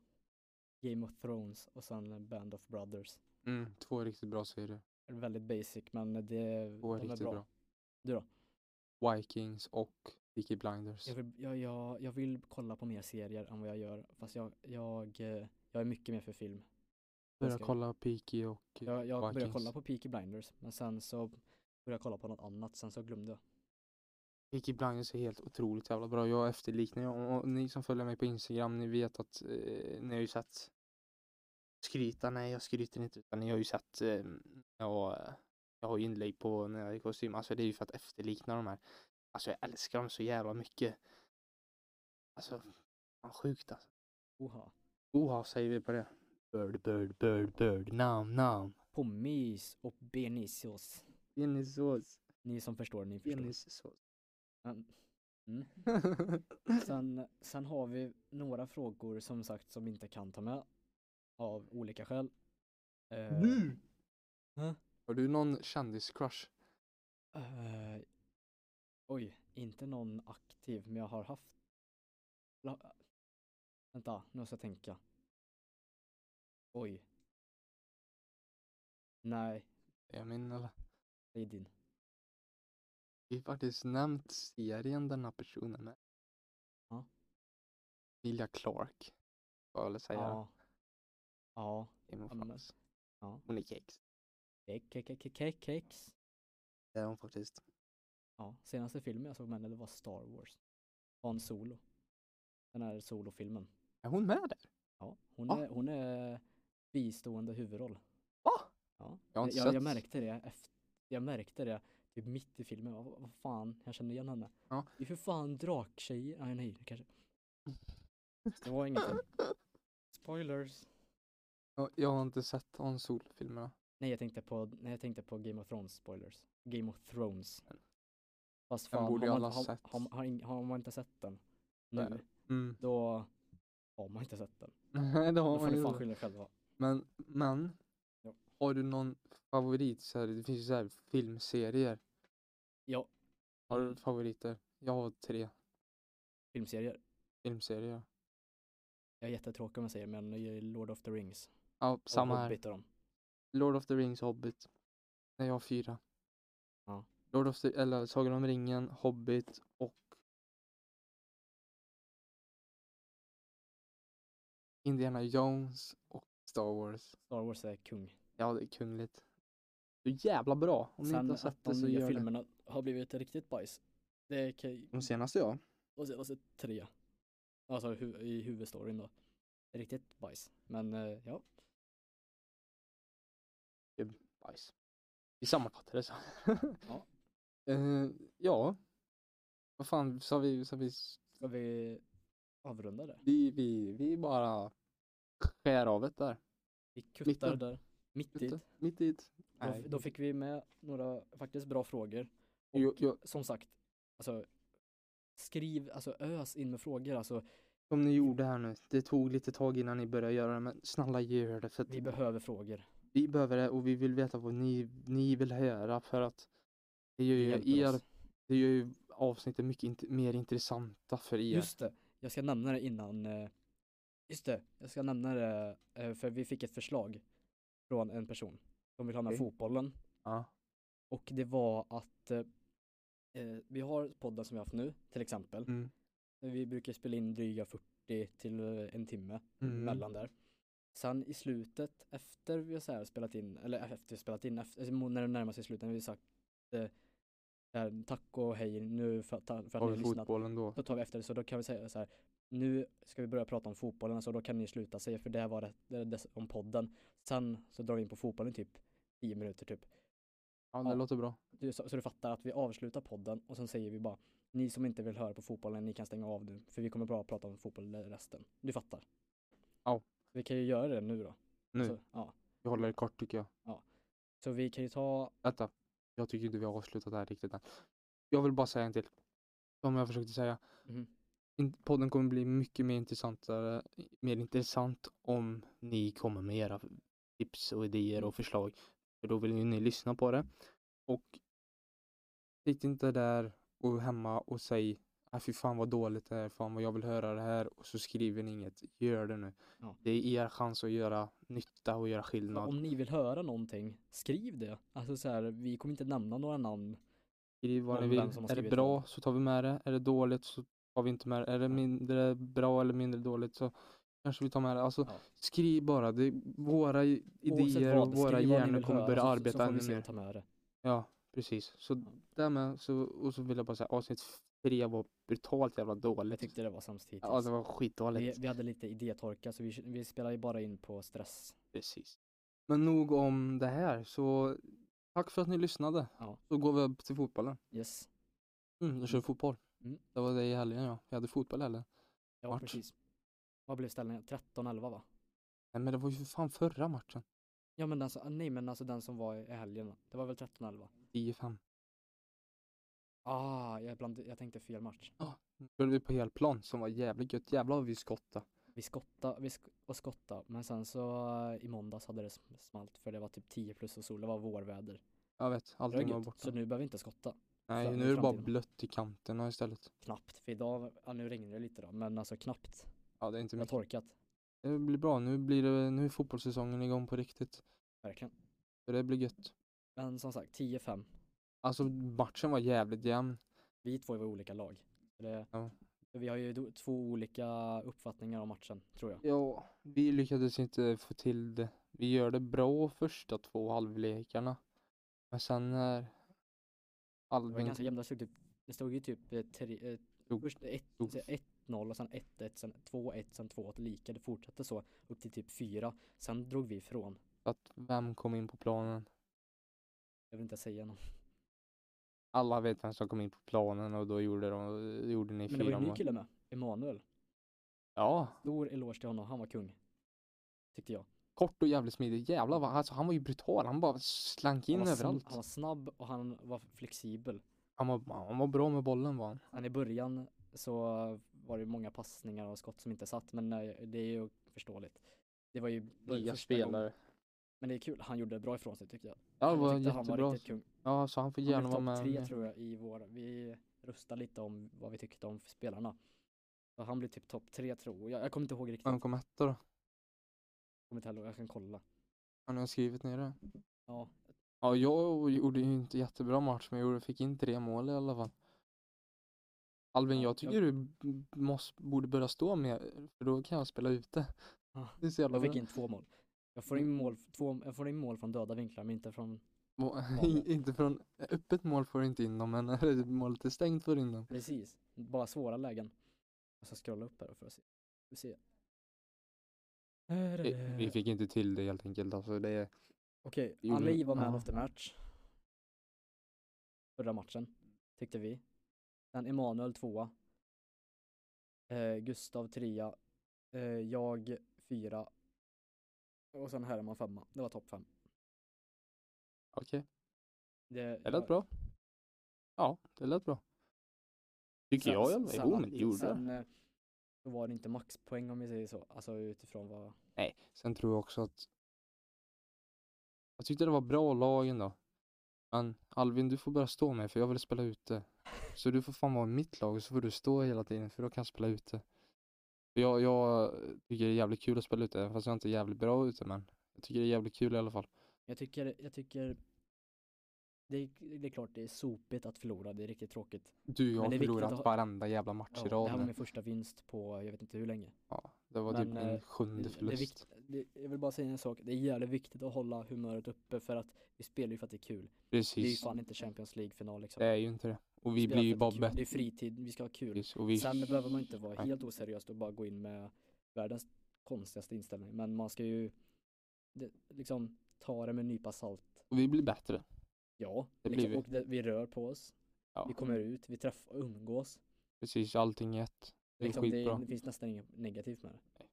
Game of Thrones och sen Band of Brothers.
Mm, två riktigt bra serier.
Väldigt basic men det,
Två
de är
riktigt
bra.
bra.
Du då?
Vikings och Peaky Blinders.
Jag vill, jag, jag, jag vill kolla på mer serier än vad jag gör fast jag, jag, eh, jag är mycket mer för film. Jag
Börja
ska-
kolla Peaky och eh,
Jag, jag började
Typ Vikings.
kolla på Peaky Blinders men sen så började jag kolla på något annat sen så glömde jag.
Peaky Blinders är helt otroligt jävla bra. Jag efterliknar ju och, och ni som följer mig på Instagram, ni vet att eh, ni har ju sett skryta, nej jag skryter inte utan ni har ju sett eh, jag, jag har ju inlägg på när jag är i kostym, alltså det är ju för att efterlikna de här. Alltså jag älskar dem så jävla mycket. Alltså, fan sjukt alltså.
Oha.
Oha säger vi på det. Bird, bird, bird, bird, nam, nam.
Pommes och benisios.
Benissås,
Ni som förstår, ni förstår.
benissås.
Men- mm. Sen, sen har vi några frågor som sagt som vi inte kan ta med av olika skäl. Eh,
Du!
Hä?
Har du någon kändiscrush?
eh, oj, inte någon aktiv men jag har haft. La, vänta, nu måste jag tänka. Oj. Nej,
Emin eller?
det är din.
Vi har faktiskt nämnt serien den här personen är.
Ja.
Emilia Clark. Får jag väl säga.
Ja. Ja.
Game of
ja, men-
Thrones.
ja.
Hon är kex.
Cake, cake, cake, cake, cakes.
Det är hon faktiskt.
Ja, senaste filmen jag såg med henne det var Star Wars. Han Solo. Den här solofilmen.
Är hon med där?
Ja, hon,
Va?
är, hon är bistående huvudroll.
Va?
Ja.
Jag har
Jag,
inte
jag,
sett.
märkte det efter, jag märkte det typ mitt i filmen. Vad, vad fan, jag kände igen henne.
Ja.
Det är för fan draktjejer. Nej, nej, det kanske. Det var ingenting. Spoilers.
Ja, Jag har inte sett Han Solo-filmerna.
Nej, jag tänkte på, nej, jag tänkte på Game of Thrones spoilers. Game of Thrones. Fast
Den
fan,
borde ju
har, man,
alla
har,
sett.
Har, har, ing- har man inte sett den
Nej.
nu,
Mm.
då har man inte sett den.
Nej, Mm. det
Då
har
får
man
ni
ju.
fan
inte.
skylla er själva.
Men, men.
Ja.
Har du någon favoritserie? Det finns ju så här filmserier.
Ja,
Har du
Mm.
favoriter? Jag har tre
filmserier.
filmserier.
Jag är jättetråkig om jag säger men jag gillar Lord of the Rings.
Ja,
Och
samma här.
Hobbit och dem.
Lord of the Rings Hobbit. Nej, jag har fyra.
Ja.
Lord of the, eller Sagan om ringen, Hobbit och Indiana Jones och Star Wars.
Star Wars är kung.
Ja, det är kungligt. Så jävla bra. Om ni
Sen
inte har
att
sett det
de
så
nya
gör det.
filmerna har blivit riktigt bajs. Det kan
De senaste ja.
de senaste tre. Alltså hu- i huvudstoryn då. Riktigt bajs. Men eh, ja,
Bajs. Vi sammanfattar det så.
Ja.
Eh, ja. Vad fan sa vi? Sa vi,
ska vi avrunda där?
vi, vi, vi bara skär av det där.
Vi kuttar
Mitten.
där. Mitt i.
Mitt i ett.
Då, då fick vi med några faktiskt bra frågor. Och
Jo, jo,
som sagt, alltså skriv, alltså ös in med frågor. Alltså
Som ni gjorde här nu, det tog lite tag innan ni började göra det men snälla gör det för att
vi behöver frågor.
vi behöver det och vi vill veta vad ni, ni vill höra för att det gör
Det
ju
hjälper
er,
oss.
det gör ju avsnitt är mycket int- mer intressanta för er.
Just det, jag ska nämna det innan eh, Just det, jag ska nämna det eh, för vi fick ett förslag från en person som vill ha med
Okej.
fotbollen
Ja.
och det var att eh, eh, vi har podden som vi har haft nu till exempel.
Mm.
Vi brukar spela in dryga 40 till eh, en timme
Mm.
mellan där. Sen i slutet efter vi har så här spelat in, eller eh, efter vi har spelat in, efter, alltså, när det närmar sig slutet, när vi har sagt eh, så här, tack och hej nu för, att- för att ni
Har
har
vi
lyssnat.
fotbollen då?
Då tar vi efter det, så då kan vi säga så här. Nu ska vi börja prata om fotbollen, så då kan ni sluta säga för det var det, det, det om podden. Sen så drar vi in på fotbollen i typ 10 minuter typ.
Ja, det
Ja.
låter bra.
Du, så, så du fattar att vi avslutar podden och sen säger vi bara ni som inte vill höra på fotbollen, ni kan stänga av nu för vi kommer bara prata om fotboll resten. Du fattar?
Ja.
Vi kan ju göra det nu då.
Nu,
Så, ja.
vi håller det kort tycker jag.
så vi kan ju ta,
Vänta, jag tycker inte vi har avslutat det här riktigt än. Jag vill bara säga en till. Som jag försökte säga,
Mhm.
in- podden kommer bli mycket mer, intressantare, mer intressant om ni kommer med era tips och idéer
Mm.
och förslag. För då vill ju ni lyssna på det. Och sitt inte där och hemma och säg "Ah, fy fan vad dåligt det här, fan vad jag vill höra det här och så skriver ni inget. Gör det nu.
Ja.
Det är er chans att göra nytta och göra skillnad.
om ni vill höra någonting, skriv det. Alltså så här, vi kommer inte nämna några namn.
Skriv vad ni
om
vill.
vem som har
Är det
skrivit
bra
vad.
så tar vi med det. Är det dåligt så tar vi inte med det. Är det mindre bra eller mindre dåligt så kanske vi tar med det. Alltså
Ja.
skriv bara. Det, våra i-
Oavsett
idéer och
vad,
våra
skriv vad ni
hjärnor
vill
kommer
höra,
börja
så- så-
arbeta
Så får vi
ännu
se
mer.
och ta med det.
Ja, precis. Så därmed så, och så vill jag bara säga avsnitt tre var brutalt jävla
Jag
dåligt.
tyckte det var sämst hittills.
Ja, det var
vi,
skitdåligt.
vi hade lite idétorka så vi, vi spelade ju bara in på stress.
Precis. Men nog om det här så tack för att ni lyssnade.
Ja.
Så går vi upp till fotbollen.
Yes.
Mm, jag kör fotboll.
Mm.
Det var det i helgen ja. Jag hade fotboll heller.
Ja,
Match.
precis. Vad blev ställningen? 13-11 va?
Nej men det var ju för fan förra matchen.
Ja men den som, nej men alltså den som var i helgen. Det var väl 13-11?
10-5.
Ah, jag, bland, jag tänkte fel match.
Körde vi på helplan som var jävligt gött. Jävlar vad vi skottade.
Vi skottade, vi sk- och skottade. Men sen så eh, i måndags hade det sm- smalt för det var typ 10 plus och sol. Det var vårväder.
Jag vet,
Det var
allting var
gött.
borta.
Så nu behöver vi inte skotta.
Nej,
fram-
nu är det bara
framtiden.
blött i kanterna istället.
Knappt. För idag, ja, nu regnar det lite då. Men alltså knappt.
Ja, det är inte
Det har
mycket.
torkat.
Det blir bra. Nu blir det, nu är fotbollssäsongen igång på riktigt.
Verkligen.
Så det blir gött.
Men som sagt, 10-5.
Alltså matchen var jävligt jämn.
Vi två är väl olika lag. Så Det,
Ja.
så Vi har ju do- två olika uppfattningar om matchen, tror jag.
Ja, vi lyckades inte få till det. Vi gör det bra första två halvlekarna. Men sen när
Det var
Albin
ganska jämna, det stod typ, det stod ju typ eh, tre, eh,
Stod-
först ett-
stod-
så 1-0 och sen 1-1, sen 2-1, sen 2-1 lika. Det fortsatte så upp till typ 4. Sen drog vi ifrån.
att vem kom in på planen?
Jag vill inte säga någon.
Alla vet vem som kom in på planen och då gjorde, de, gjorde ni
Men det var ju
fyra
en ny
mål.
kille med, Emanuel.
Ja,
Stor eloge till honom, han var kung. Tyckte jag.
kort och jävligt smidig. Jävlar vad, alltså han var ju brutal. Han bara slank in
han, var sn-
överallt.
han var snabb och han var flexibel.
Han var, han var bra med bollen var han.
Men i början så var det ju många passningar och skott som inte satt, men eh, det är ju förståeligt. Det var ju var ju
Nya
första gången.
spelare.
Men det är kul, han gjorde bra ifrån sig tyckte jag.
Ja, det
jag
var
tyckte han var
jättebra.
riktigt kung.
Ja, så han får
Han
gärna
blev
vara
topp tre
med.
tror jag i vår. Vi röstade lite om vad vi tyckte om spelarna. Så han blev typ topp tre tror jag. Jag kommer inte ihåg riktigt.
Han kom etta då.
Kommer inte heller, jag kan kolla.
Han har skrivit ner det.
Ja,
Ja, jag gjorde ju inte jättebra match, men jag gjorde- fick in tre mål i alla fall. Albin,
Ja,
jag
jag-
tycker du b- måste, borde börja stå mer, för då kan jag spela ute. Det
Ja,
Mm. är så jävla
jag fick
bra.
in två mål. Jag får in mål, två, jag får in mål från döda vinklar men inte från
Må- Inte från öppet mål får du inte in dem, men när det- målet är stängt får du in dem.
Precis, bara svåra lägen. Jag ska scrolla upp här för att se. Vi se. Här är
Vi,
det.
Eh, vi fick inte till det helt enkelt. Alltså, det är
Okej,
vi gjorde-
Ali var man
ja.
of the match. Förra matchen, tyckte vi. Sen Emanuel tvåa. Eh, Gustav trea. Eh, jag fyra. Och sen Herman femma. Det var topp fem.
okej.
Det,
Det lät bra. Ja, det lät bra. Tycker jag i alla fall. Jo, men det gjorde det.
Sen eh, så var det inte maxpoäng om vi säger så. Alltså utifrån vad...
Nej, sen tror jag också att jag tyckte det var bra lag ändå. Men Alvin, du får börja stå med för jag vill spela ute. Så du får fan vara i mitt lag så får du stå hela tiden för då kan jag spela ute. För Jag, jag tycker det är jävligt kul att spela ute, även fast jag inte är jävligt bra ute men jag tycker det är jävligt kul i alla fall.
Jag tycker, jag tycker det är, det är klart det är sopigt att förlora, det är riktigt tråkigt.
Du, jag
Men
har
det är viktigt
förlorat
att ha-
varenda jävla match i
det här
rad
var
nu.
min första vinst på jag vet inte hur länge.
Ja, det var typ
Men, eh,
min
Det,
sjunde
det är
förlust.
vikt, det, jag vill bara säga en sak, det är jävligt viktigt att hålla humöret uppe för att vi spelar ju för att det är kul. Det är ju
Precis.
fan inte Champions League-final liksom.
Det är ju inte det. Och vi
spelar
blir ju
för
bara
att det är kul. Det är
bättre.
fritid, vi ska ha kul.
Precis, Och vi...
Sen behöver man inte vara
Nej.
helt oseriös och bara gå in med världens konstigaste inställning. Men man ska ju det, liksom ta det med en nypa salt.
och vi blir bättre.
Ja,
Det blir
liksom,
vi.
och det, vi rör på oss.
Ja,
Vi kommer ut, vi träffar, umgås.
precis. Allting i ett. Det är
Liksom, det,
skitbra.
det finns nästan inget negativt med det.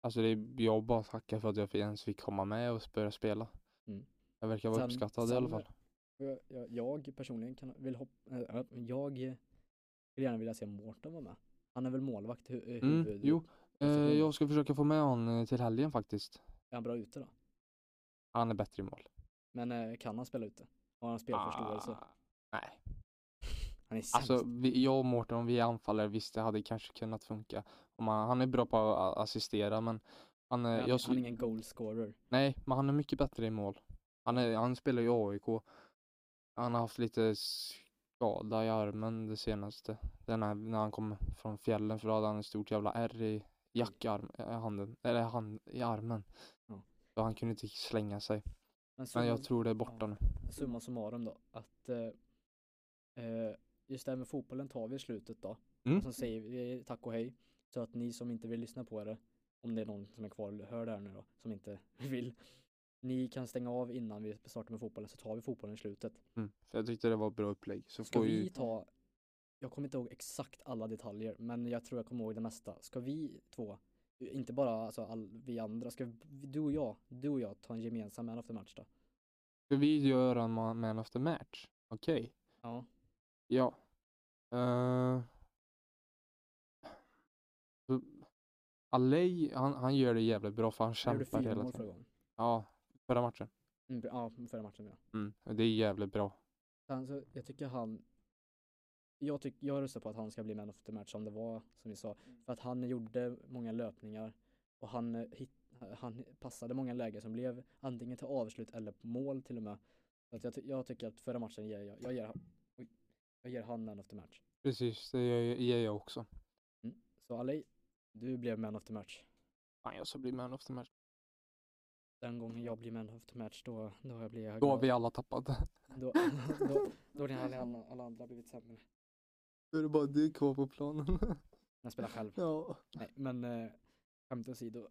Alltså det är, jag bara tackar för att jag ens fick komma med och börja spela.
Mm.
Jag verkar vara
Sen-
uppskattad i alla
sen-
fall.
Och Jag, jag, jag personligen kan, vill hoppa, äh, jag eh, skulle gärna vilja se Mårten vara med. Han är väl målvakt, hu, eh, huvud.
Mm, jo, eh,
position.
jag ska försöka få med honom eh, till helgen faktiskt.
Är han bra ute då?
Han är bättre i mål.
Men eh, kan han spela ute? Har han spelförståelse?
Ah, nej.
Han är sämst.
Alltså vi, jag och Mårten, om vi är anfallare, visst det hade kanske kunnat funka. Om han, han är bra på att a- assistera men han är,
han,
jag,
han är
skulle-
ingen goalscorer.
Nej, men han är mycket bättre i mål. Han, är, han spelar ju AIK. Han har haft lite skada i armen det senaste. Den här, när han kom från fjällen för då hade han ett stort jävla ärr i jackarm, äh, handen, eller hand, i armen.
Ja.
Så han kunde inte slänga sig.
Men summa,
Men jag tror det är borta nu.
summa summarum då, att eh, eh, just det här med fotbollen tar vi i slutet då.
Mm.
Och sen säger vi tack och hej. Så att ni som inte vill lyssna på det, om det är någon som är kvar och hör det här nu då, som inte vill. Ni kan stänga av innan vi startar med fotbollen, så tar vi fotbollen i slutet.
Mm. För jag tyckte det var ett bra upplägg. Så
Ska
får
vi
ju,
ta, jag kommer inte ihåg exakt alla detaljer, men jag tror jag kommer ihåg det mesta. Ska vi två, inte bara alltså, all, vi andra, ska vi, du och jag, du och jag ta en gemensam man after match då?
ska vi göra en ma- man after match? Okej.
Ja.
Ja. Uh, Alej, han, han gör det jävligt bra för han
Jag gjorde
kämpar
fyra
hela
mål
tiden.
förra gången.
Ja, förra matchen.
Mm, ja, förra matchen ja.
Mm, och det är jävligt bra.
Sen så, jag tycker han, jag, tyck, jag röstar på att han ska bli man of the match som det var, som vi sa. För att han gjorde många löpningar och han, eh, hit, han passade många lägen som blev antingen till avslut eller mål till och med. Så att jag, ty- jag tycker att förra matchen ger jag, jag ger, han- oj, jag ger han man of the match.
Precis, det gör- ger jag också.
Så Ali, du blev man of the match.
Fan, jag ska bli man of the match.
Den gången jag blir man of the match då, då blir jag
Då har
glad.
vi alla tappat.
Då, då, då har alla, alla andra blivit sämre.
Då är det bara du kvar på planen.
När jag spelar själv.
ja.
Nej, men eh, skämt åsido.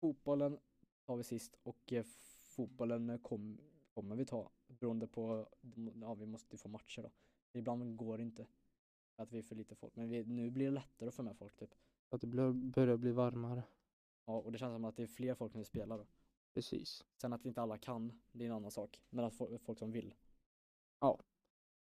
Fotbollen tar vi sist och eh, fotbollen eh, kom, kommer vi ta beroende på, ja vi måste ju få matcher då. Ibland går det inte att vi är för lite folk, men vi, nu blir det lättare att få med folk typ.
Att det blir- börjar bli varmare.
Ja, och det känns som att det är fler folk när vi spelar då.
Precis.
Sen att inte alla kan, det är en annan sak. Men att fo- folk som vill.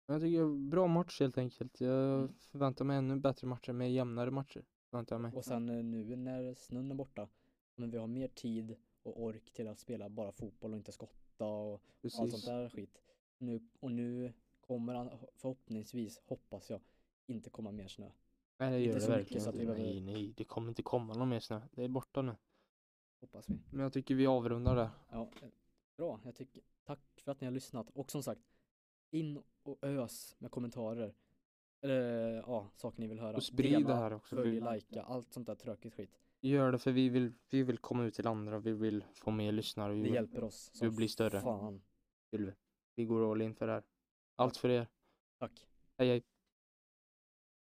Men jag tycker bra match helt enkelt. Jag
Mm.
förväntar mig ännu bättre matcher, mer jämnare matcher. Förväntar jag mig.
Och sen eh, nu när snön är borta, men vi har mer tid och ork till att spela bara fotboll och inte skotta och allt sånt
Precis.
där skit. Nu, och nu kommer han förhoppningsvis, hoppas jag, inte komma mer snö.
Nej det
Inte
gör det
så mycket
verkligen
så att vi
inte.
behöver-
Nej nej, det kommer inte komma någon mer snö. Det är borta nu.
Hoppas vi.
Men jag tycker vi avrundar där.
Ja, eh, bra. Jag tycker, tack för att ni har lyssnat. Och som sagt, in och ös med kommentarer. Eller ja, saker ni vill höra.
Och sprid det här också.
Följ,
Vi
likea, allt sånt där tråkigt skit.
gör det för vi vill, vi vill komma ut till andra. Vi vill få mer lyssnare. Vi
Det
vill,
hjälper oss.
Mm. vi blir större.
Fan.
vill vi. vi går all in för det här. Allt för er.
Tack.
Hej hej.